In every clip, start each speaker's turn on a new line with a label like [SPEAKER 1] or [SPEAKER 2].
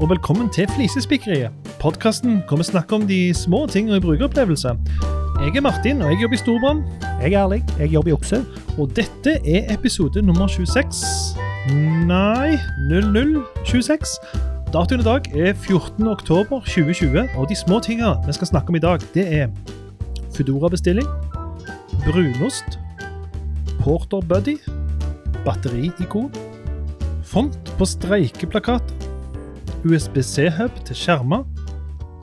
[SPEAKER 1] og velkommen til Flisespikkeriet. Podkasten hvor vi snakker om de små tingene i brukeropplevelse. Jeg er Martin, og jeg jobber i Storbrann.
[SPEAKER 2] Jeg er Erling. Jeg jobber i Okse.
[SPEAKER 1] Og dette er episode nummer 26 Nei, 0026. Datoen i dag er 14. oktober 2020, og de små tingene vi skal snakke om i dag, det er Foodora-bestilling, brunost, Porter Buddy, batteriikon, font på streikeplakat, USB-C-hub til skjermer,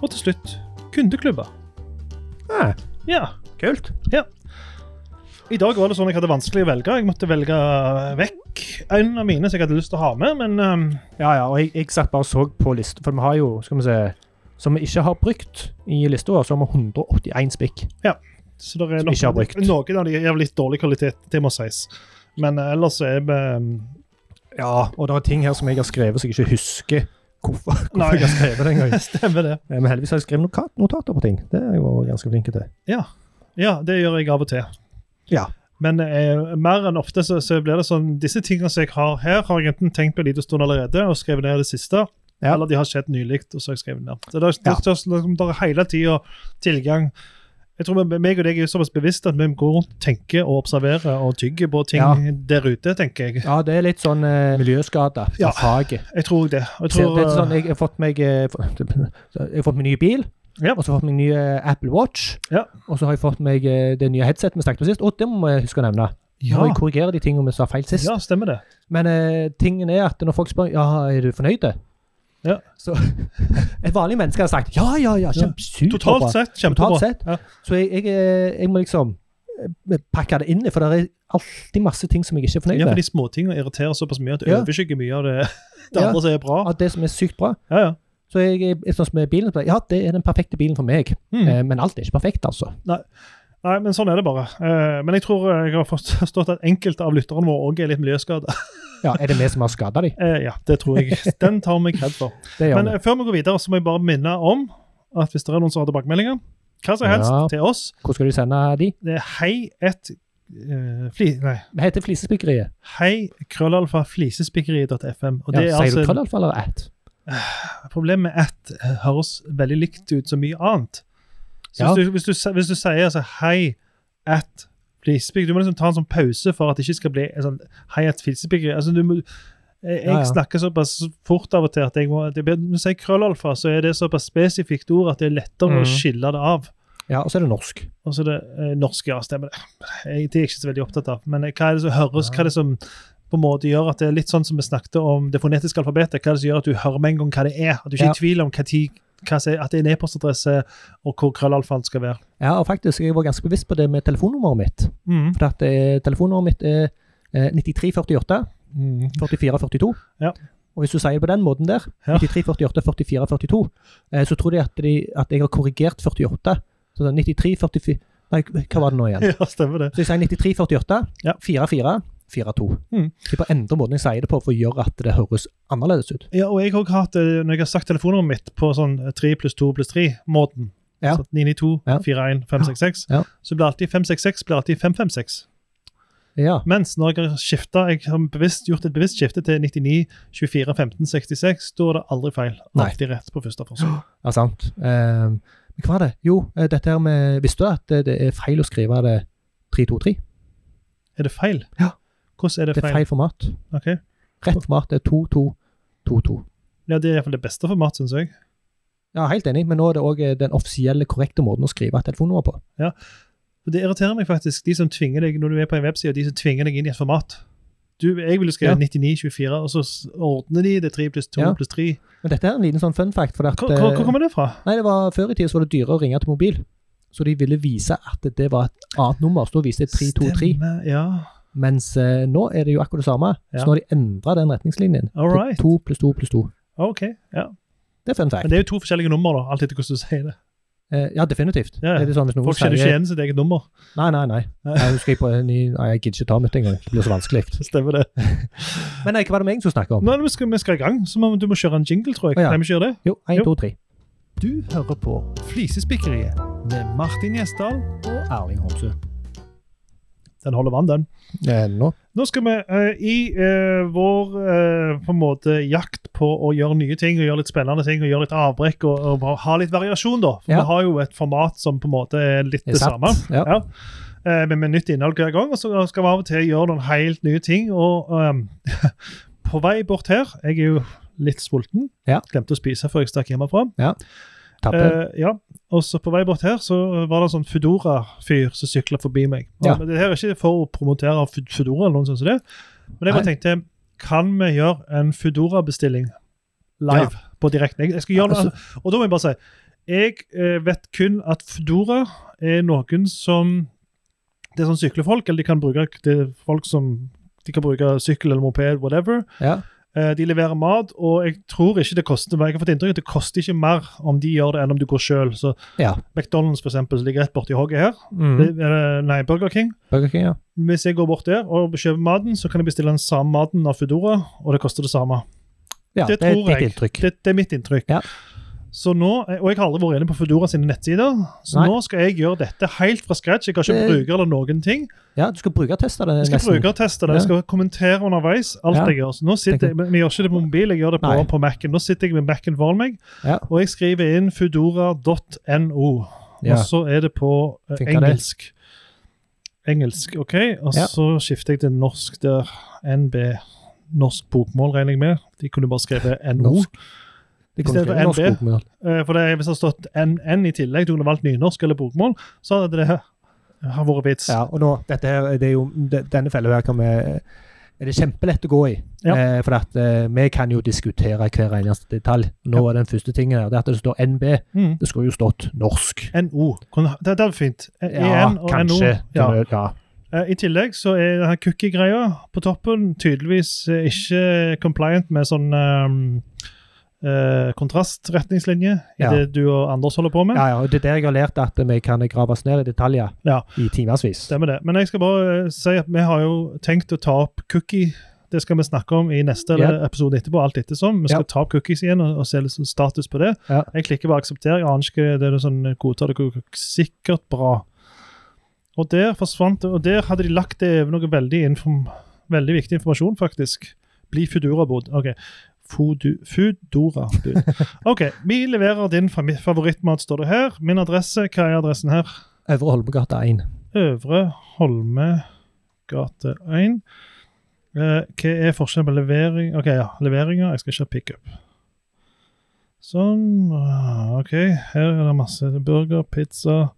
[SPEAKER 1] og til slutt kundeklubber.
[SPEAKER 2] Ah,
[SPEAKER 1] Ja,
[SPEAKER 2] kult.
[SPEAKER 1] I dag var det sånn jeg hadde vanskelig å velge. Jeg måtte velge vekk en av mine som jeg hadde lyst til å ha med, men ehm,
[SPEAKER 2] Ja, ja. Og jeg, jeg satt bare og så på lista, for vi har jo, skal vi se Som vi ikke har brukt i lista, vår, så har vi 181 spikk.
[SPEAKER 1] så det er
[SPEAKER 2] Som ikke har brukt.
[SPEAKER 1] noen av de er av litt dårlig kvalitet, det må sies. Men eh, ellers er jeg ehm,
[SPEAKER 2] Ja. Og det er ting her som jeg har skrevet som jeg ikke husker hvorfor, hvorfor
[SPEAKER 1] Nei.
[SPEAKER 2] jeg har skrevet det engang.
[SPEAKER 1] Stemmer det.
[SPEAKER 2] Eh, Men heldigvis har jeg skrevet noka- notater på ting. Det er jeg jo ganske flink til.
[SPEAKER 1] Ja. ja, det gjør jeg av og til.
[SPEAKER 2] Ja.
[SPEAKER 1] Men eh, mer enn ofte så, så blir det sånn Disse tingene som jeg har her, har jeg enten tenkt på en liten stund allerede og skrevet ned det siste,
[SPEAKER 2] Ja.
[SPEAKER 1] eller de har skjedd nylig, og så har jeg skrevet ned. Så det, er-
[SPEAKER 2] Ja.
[SPEAKER 1] det, er- liksom, det er hele tida tilgang Jeg tror vi- meg og deg er jo såpass bevisst at vi går rundt og tenker og observerer og tygger på ting
[SPEAKER 2] Ja.
[SPEAKER 1] der ute, tenker jeg.
[SPEAKER 2] ja, det er litt sånn eh, miljøskader fra
[SPEAKER 1] Ja.
[SPEAKER 2] faget.
[SPEAKER 1] Jeg tror det. Og Jeg
[SPEAKER 2] Ser-
[SPEAKER 1] tror,
[SPEAKER 2] det er sånn, jeg har fått meg eh, for- Jeg har fått meg ny bil,
[SPEAKER 1] Ja.
[SPEAKER 2] og så har jeg fått meg ny eh, Apple Watch.
[SPEAKER 1] Ja.
[SPEAKER 2] Og så har jeg fått meg eh, det nye headsetet vi snakket om sist. Og det må jeg huske å nevne. Nå
[SPEAKER 1] ja,
[SPEAKER 2] må jeg korrigere de tingene vi sa feil sist.
[SPEAKER 1] ja, stemmer det.
[SPEAKER 2] Men eh, tingen er at når folk spør ja, er du fornøyd,
[SPEAKER 1] Ja.
[SPEAKER 2] så Et vanlig menneske hadde sagt ja, ja, ja, kjempesuperbra.
[SPEAKER 1] Totalt sett kjempebra.
[SPEAKER 2] Totalt sett.
[SPEAKER 1] Ja.
[SPEAKER 2] Så jeg, jeg, eh, jeg må liksom eh, pakke det inn, for det er alltid masse ting som jeg ikke er fornøyd
[SPEAKER 1] Ja, for
[SPEAKER 2] med.
[SPEAKER 1] de småtingene irriterer såpass mye at det
[SPEAKER 2] Ja.
[SPEAKER 1] overskygger mye av det, det
[SPEAKER 2] Ja.
[SPEAKER 1] andre som er bra.
[SPEAKER 2] Av det som er sykt bra.
[SPEAKER 1] Ja, ja.
[SPEAKER 2] Så jeg, jeg, sånn som med bilen, så bare, ja, det er den perfekte bilen for meg.
[SPEAKER 1] Mm.
[SPEAKER 2] Eh, Men alt er ikke perfekt, altså.
[SPEAKER 1] Nei, men sånn er det bare. Eh, men jeg tror jeg har forstått at enkelte av lytterne våre òg er litt miljøskada.
[SPEAKER 2] Ja, Er det vi som har skada de?
[SPEAKER 1] Eh, ja, det tror jeg. Den tar meg kred for.
[SPEAKER 2] Det gjør
[SPEAKER 1] Men
[SPEAKER 2] vi.
[SPEAKER 1] eh, før vi går videre, så må jeg bare minne om at hvis det er noen som har tilbakemeldinger, hva som helst
[SPEAKER 2] Ja.
[SPEAKER 1] til oss,
[SPEAKER 2] Hvor skal du sende de?
[SPEAKER 1] det er hei et eh, fli, Nei,
[SPEAKER 2] Vi heter Flisespikkeriet.
[SPEAKER 1] hei krøllalfa flisespikkeriet.fm. Og
[SPEAKER 2] Ja,
[SPEAKER 1] det er
[SPEAKER 2] sier du
[SPEAKER 1] altså
[SPEAKER 2] krøllalfa eller at?
[SPEAKER 1] Problemet er at det høres veldig likt ut som mye annet. Så
[SPEAKER 2] Ja.
[SPEAKER 1] hvis, du, hvis, du, se- hvis du sier altså, hei at flisepikk, du må liksom ta en sånn pause for at det ikke skal bli en sånn hei at flisepikk. Altså, du må, jeg, jeg
[SPEAKER 2] Ja, ja.
[SPEAKER 1] snakker såpass fort av og til at jeg må, det, blir- når jeg sier krøllalfa, så er det såpass spesifikt ord at det er lettere
[SPEAKER 2] Mhm.
[SPEAKER 1] å skille det av.
[SPEAKER 2] Ja, og så er det norsk.
[SPEAKER 1] Og så er det eh, norske, ja, stemmer det. Jeg, det er jeg ikke så veldig opptatt av. Men eh, hva er det som høres, hva er det som på en måte gjør at det er litt sånn som vi snakket om det fonetiske alfabetet, hva er det som gjør at du hører med en gang hva det er? At du ikke er i tvil om hva tid, hva som er- at det er en e-postadresse, og hvor krøllalfaen skal være.
[SPEAKER 2] Ja, og faktisk, jeg var ganske bevisst på det med telefonnummeret mitt.
[SPEAKER 1] Mm.
[SPEAKER 2] For at eh, telefonnummeret mitt er eh, 9348
[SPEAKER 1] Mm.
[SPEAKER 2] 4442.
[SPEAKER 1] Ja.
[SPEAKER 2] Og hvis du sier det på den måten der,
[SPEAKER 1] Ja.
[SPEAKER 2] 9348 4442, eh, så tror de at, de at jeg har korrigert 48. Så det er 9344 Nei, hva var det nå igjen?
[SPEAKER 1] Ja, stemmer det.
[SPEAKER 2] Så jeg sier 9348,
[SPEAKER 1] Ja.
[SPEAKER 2] 44, 42.
[SPEAKER 1] Mm.
[SPEAKER 2] Det er på enda måten jeg sier det på for å gjøre at det høres annerledes ut.
[SPEAKER 1] Ja, og jeg har også hatt, eh, når jeg har sagt telefonnummeret mitt på sånn 3 pluss 2 pluss 3-måten,
[SPEAKER 2] Ja.
[SPEAKER 1] så 992
[SPEAKER 2] Ja.
[SPEAKER 1] 41 566,
[SPEAKER 2] Ja.
[SPEAKER 1] så blir alltid 566 blir alltid 556.
[SPEAKER 2] Ja,
[SPEAKER 1] Mens når jeg har skiftet, jeg har bevisst, gjort et bevisst skifte til 99, 24, 15, 66, da er det aldri feil.
[SPEAKER 2] Nei.
[SPEAKER 1] Alltid rett på første forsøk.
[SPEAKER 2] ja sant. Eh, men hva var det? Jo, eh, dette her med Visste du at det, det er feil å skrive det 323?
[SPEAKER 1] Er det feil?
[SPEAKER 2] Ja.
[SPEAKER 1] Hvordan er det
[SPEAKER 2] Det er
[SPEAKER 1] feil?
[SPEAKER 2] feil format.
[SPEAKER 1] Ok.
[SPEAKER 2] Rett format er 2222.
[SPEAKER 1] Ja, Det er iallfall det beste format, syns jeg.
[SPEAKER 2] Ja, helt enig, men nå er det òg den offisielle, korrekte måten å skrive et telefonnummer på.
[SPEAKER 1] Og Det irriterer meg faktisk, de som tvinger deg når du er på en webside, de som tvinger deg inn i et format. Du, jeg ville skrevet 99, 24, og så s- ordner de det 3 pluss 2
[SPEAKER 2] Ja.
[SPEAKER 1] pluss 3.
[SPEAKER 2] Men dette er en liten sånn fun fact. For at,
[SPEAKER 1] Hvor, hvor, hvor kommer det fra?
[SPEAKER 2] Nei, det var Før i tida så var det dyrere å ringe til mobil, så de ville vise at det var et annet nummer. Så da viste det 323.
[SPEAKER 1] Stemme, ja.
[SPEAKER 2] Mens eh, nå er det jo akkurat det samme.
[SPEAKER 1] Ja.
[SPEAKER 2] Så nå har de endra den retningslinjen.
[SPEAKER 1] All right.
[SPEAKER 2] Til to pluss to pluss to.
[SPEAKER 1] OK. ja.
[SPEAKER 2] Det er fun fact.
[SPEAKER 1] Men det er jo to forskjellige nummer, da, alt etter hvordan du sier det.
[SPEAKER 2] Eh, ja, definitivt.
[SPEAKER 1] Ja, ja.
[SPEAKER 2] Er det sånn hvis noen
[SPEAKER 1] Folk kjenner ikke
[SPEAKER 2] sier
[SPEAKER 1] igjen sitt eget nummer.
[SPEAKER 2] Nei, nei, nei. Nei, husker jeg, på, en ny- nei, jeg gidder ikke ta mitt engang. Det blir så vanskelig.
[SPEAKER 1] Stemmer det.
[SPEAKER 2] Men nei, hva var det meg som snakka om?
[SPEAKER 1] Nå er det vi skal, vi skal i gang, så må, du må kjøre en jingle, tror jeg.
[SPEAKER 2] Å, ja.
[SPEAKER 1] Nei, vi kjører det.
[SPEAKER 2] Jo, én,
[SPEAKER 1] Jo.
[SPEAKER 2] to, tre.
[SPEAKER 1] Du hører på Flisespikkeriet med Martin Gjesdal.
[SPEAKER 2] Og Erling Homsø.
[SPEAKER 1] Den holder vann, den.
[SPEAKER 2] Ennå.
[SPEAKER 1] Nå skal vi eh, i eh, vår eh, på en måte jakt på å gjøre nye ting og gjøre litt spennende ting og gjøre litt avbrekk og, og bare ha litt variasjon, da. For
[SPEAKER 2] Ja.
[SPEAKER 1] vi har jo et format som på en måte er litt
[SPEAKER 2] Det er
[SPEAKER 1] det samme.
[SPEAKER 2] satt, ja.
[SPEAKER 1] Eh, men med nytt innhold hver gang. Og så skal vi av og til gjøre noen helt nye ting. Og ehm, på vei bort her Jeg er jo litt sulten.
[SPEAKER 2] Ja.
[SPEAKER 1] Glemte å spise før jeg stakk hjemmefra.
[SPEAKER 2] Tabbe.
[SPEAKER 1] Eh, ja, og så på vei bort her så var det en sånn Foodora-fyr som sykla forbi meg. Og,
[SPEAKER 2] Ja.
[SPEAKER 1] Men det her er ikke for å promotere Fo- Foodora, eller noe sånt som det. Men jeg bare tenkte, kan vi gjøre en Foodora-bestilling live på direkten? Jeg, jeg skal gjøre
[SPEAKER 2] Altså-
[SPEAKER 1] det, og da må jeg bare si, jeg eh, vet kun at Foodora er noen som, det er sånn syklefolk, eller de kan bruke, det er folk som, de kan bruke sykkel eller moped, whatever,
[SPEAKER 2] Ja.
[SPEAKER 1] Eh, De leverer mat, og jeg tror ikke det koster men jeg har fått inntrykk av at det koster ikke mer om de gjør det, enn om du går sjøl.
[SPEAKER 2] Ja.
[SPEAKER 1] McDonald's for eksempel, som ligger rett borti hogget her,
[SPEAKER 2] Mm.
[SPEAKER 1] det- eller, nei, Burger King
[SPEAKER 2] Burger King, ja.
[SPEAKER 1] Hvis jeg går bort der og kjøper maten, så kan jeg bestille den samme maten av Foodora, og det koster det samme.
[SPEAKER 2] ja.
[SPEAKER 1] Det
[SPEAKER 2] Det, er
[SPEAKER 1] tror
[SPEAKER 2] ditt
[SPEAKER 1] jeg.
[SPEAKER 2] inntrykk.
[SPEAKER 1] Det, det er mitt inntrykk.
[SPEAKER 2] Ja.
[SPEAKER 1] Så nå, eh, Og jeg har aldri vært inne på Foodora sine nettsider, så
[SPEAKER 2] Nei.
[SPEAKER 1] nå skal jeg gjøre dette helt fra scratch. Jeg har ikke
[SPEAKER 2] Det-
[SPEAKER 1] bruker eller noen ting.
[SPEAKER 2] Ja, du skal brukerteste det
[SPEAKER 1] Jeg skal
[SPEAKER 2] nesten.
[SPEAKER 1] brukerteste det, jeg skal kommentere underveis alt
[SPEAKER 2] Ja.
[SPEAKER 1] jeg gjør. Så nå sitter jeg, men jeg gjør ikke det på mobil, jeg gjør det på,
[SPEAKER 2] Nei.
[SPEAKER 1] på Mac-en. Nå sitter jeg med Mac-en foran meg,
[SPEAKER 2] Ja.
[SPEAKER 1] og jeg skriver inn foodora.no.
[SPEAKER 2] Ja.
[SPEAKER 1] Og så er det på eh,
[SPEAKER 2] Funker det?
[SPEAKER 1] engelsk. Engelsk, OK. Og
[SPEAKER 2] Ja.
[SPEAKER 1] så skifter jeg til norsk der. NB. Norsk bokmål, regner jeg med. De kunne bare skrevet NO.
[SPEAKER 2] Norsk. Det kommer
[SPEAKER 1] Istedenfor
[SPEAKER 2] til å være norsk
[SPEAKER 1] NB.
[SPEAKER 2] bokmål.
[SPEAKER 1] Eh, For det, hvis det hadde stått NN i tillegg, du kunne valgt nynorsk eller bokmål, så hadde det har vært vits.
[SPEAKER 2] Ja, og nå, dette her, det er jo, de- denne fella her kan vi er det kjempelett å gå i.
[SPEAKER 1] Ja.
[SPEAKER 2] Eh, for at, eh, vi kan jo diskutere hver eneste detalj. Nå er den første tingen her, det er at det står NB.
[SPEAKER 1] Mm.
[SPEAKER 2] Det skulle jo stått norsk.
[SPEAKER 1] NO. Kunne- Det, det er fint. EN
[SPEAKER 2] Ja,
[SPEAKER 1] og
[SPEAKER 2] kanskje.
[SPEAKER 1] NO. Ja.
[SPEAKER 2] Ja. Ja.
[SPEAKER 1] Eh, I tillegg så er denne cookie-greia på toppen tydeligvis eh, ikke compliant med sånn um, eh, kontrastretningslinje i
[SPEAKER 2] Ja.
[SPEAKER 1] det du og Anders holder på med.
[SPEAKER 2] ja, og Det er der jeg har lært at vi kan graves ned i detaljer
[SPEAKER 1] Ja.
[SPEAKER 2] i timevis.
[SPEAKER 1] Stemmer det. Men jeg skal bare eh, si at vi har jo tenkt å ta opp cookie. Det skal vi snakke om i neste
[SPEAKER 2] Ja.
[SPEAKER 1] eller episode etterpå. alt ettersom. Vi skal
[SPEAKER 2] Ja.
[SPEAKER 1] ta opp cookies igjen og, og se litt sånn status på det.
[SPEAKER 2] Ja.
[SPEAKER 1] Jeg klikker bare 'aksepter'. Jeg aner ikke det er noe sånn godtar det går sikkert bra. Og der forsvant det, og der hadde de lagt det over noe veldig, inform, veldig viktig informasjon, faktisk. Bli Foodora-bod. Ok. Fodu- Foodora-bod. OK. Vi leverer din fami- favorittmat, står det her. Min adresse, hva er adressen her?
[SPEAKER 2] Øvre Holmegata 1.
[SPEAKER 1] Øvre Holme gate 1. Eh, hva er forskjellen på levering Ok, ja, leveringer. Jeg skal ikke ha pickup. Sånn. ah, OK, her er det masse burger, pizza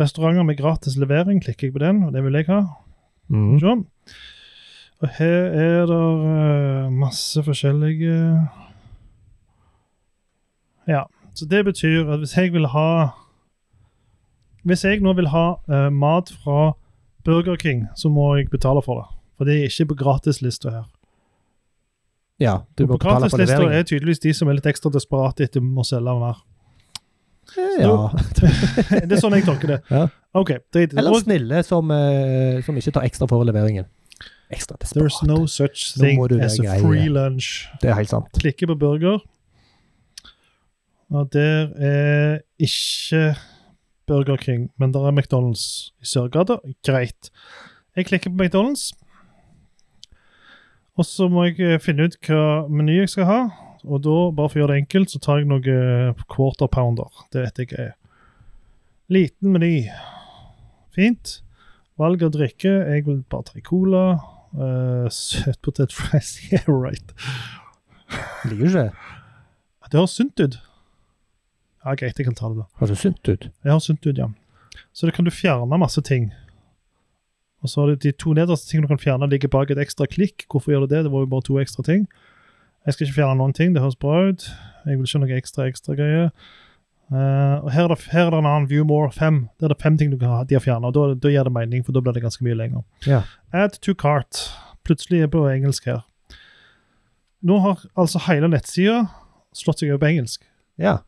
[SPEAKER 1] Restauranter med gratis levering. Klikker jeg på den, og det vil jeg ha. Se.
[SPEAKER 2] Mm.
[SPEAKER 1] Sånn. Og her er det eh, masse forskjellige Ja. Så det betyr at hvis jeg vil ha Hvis jeg nå vil ha eh, mat fra Burger King, så må jeg betale for det. For det er ikke på gratislista her.
[SPEAKER 2] Ja, du må
[SPEAKER 1] Og på
[SPEAKER 2] betale for
[SPEAKER 1] gratislista
[SPEAKER 2] leveringen.
[SPEAKER 1] er tydeligvis de som er litt ekstra desperate etter å selge mer.
[SPEAKER 2] Ja.
[SPEAKER 1] det er sånn jeg tolker det.
[SPEAKER 2] Ja.
[SPEAKER 1] OK, drit i det.
[SPEAKER 2] Eller snille som, eh, som ikke tar ekstra for leveringen. Ekstra
[SPEAKER 1] There's
[SPEAKER 2] desperat.
[SPEAKER 1] no such
[SPEAKER 2] Nå
[SPEAKER 1] thing
[SPEAKER 2] må du
[SPEAKER 1] as a
[SPEAKER 2] være grei.
[SPEAKER 1] free lunch.
[SPEAKER 2] Det er helt sant.
[SPEAKER 1] klikker på burger. Og der er ikke Burger King, men der er McDonald's i Sørgata. Greit. Jeg klikker på McDonald's. Og så må jeg eh, finne ut hva meny jeg skal ha. Og da, bare for å gjøre det enkelt, så tar jeg noe eh, quarter pounder. Det vet jeg hva er. Liten meny. Fint. Valg av drikke. Jeg vil bare ta cola. Uh, Søtpotet fries. Yeah, right.
[SPEAKER 2] Ligger du ikke?
[SPEAKER 1] Det høres sunt ut. Ja, greit, jeg kan ta det, da.
[SPEAKER 2] Høres sunt ut.
[SPEAKER 1] Det høres sunt ut, ja. Så da kan du fjerne masse ting. Og så har du de to nederste tingene du kan fjerne, ligger bak et ekstra klikk. Hvorfor gjør du det? Det var jo bare to ekstra ting. Jeg skal ikke fjerne noen ting, det høres bra ut. Jeg vil ikke ha noe ekstra ekstra greier. Eh, og her er, det, her er det en annen View More 5. Der er det fem ting du kan ha, de har fjernet, og Da, da gir det mening, for da blir det ganske mye lenger.
[SPEAKER 2] Ja.
[SPEAKER 1] Add to cart. Plutselig er jeg på engelsk her. Nå har altså hele nettsida slått seg over på engelsk.
[SPEAKER 2] Ja.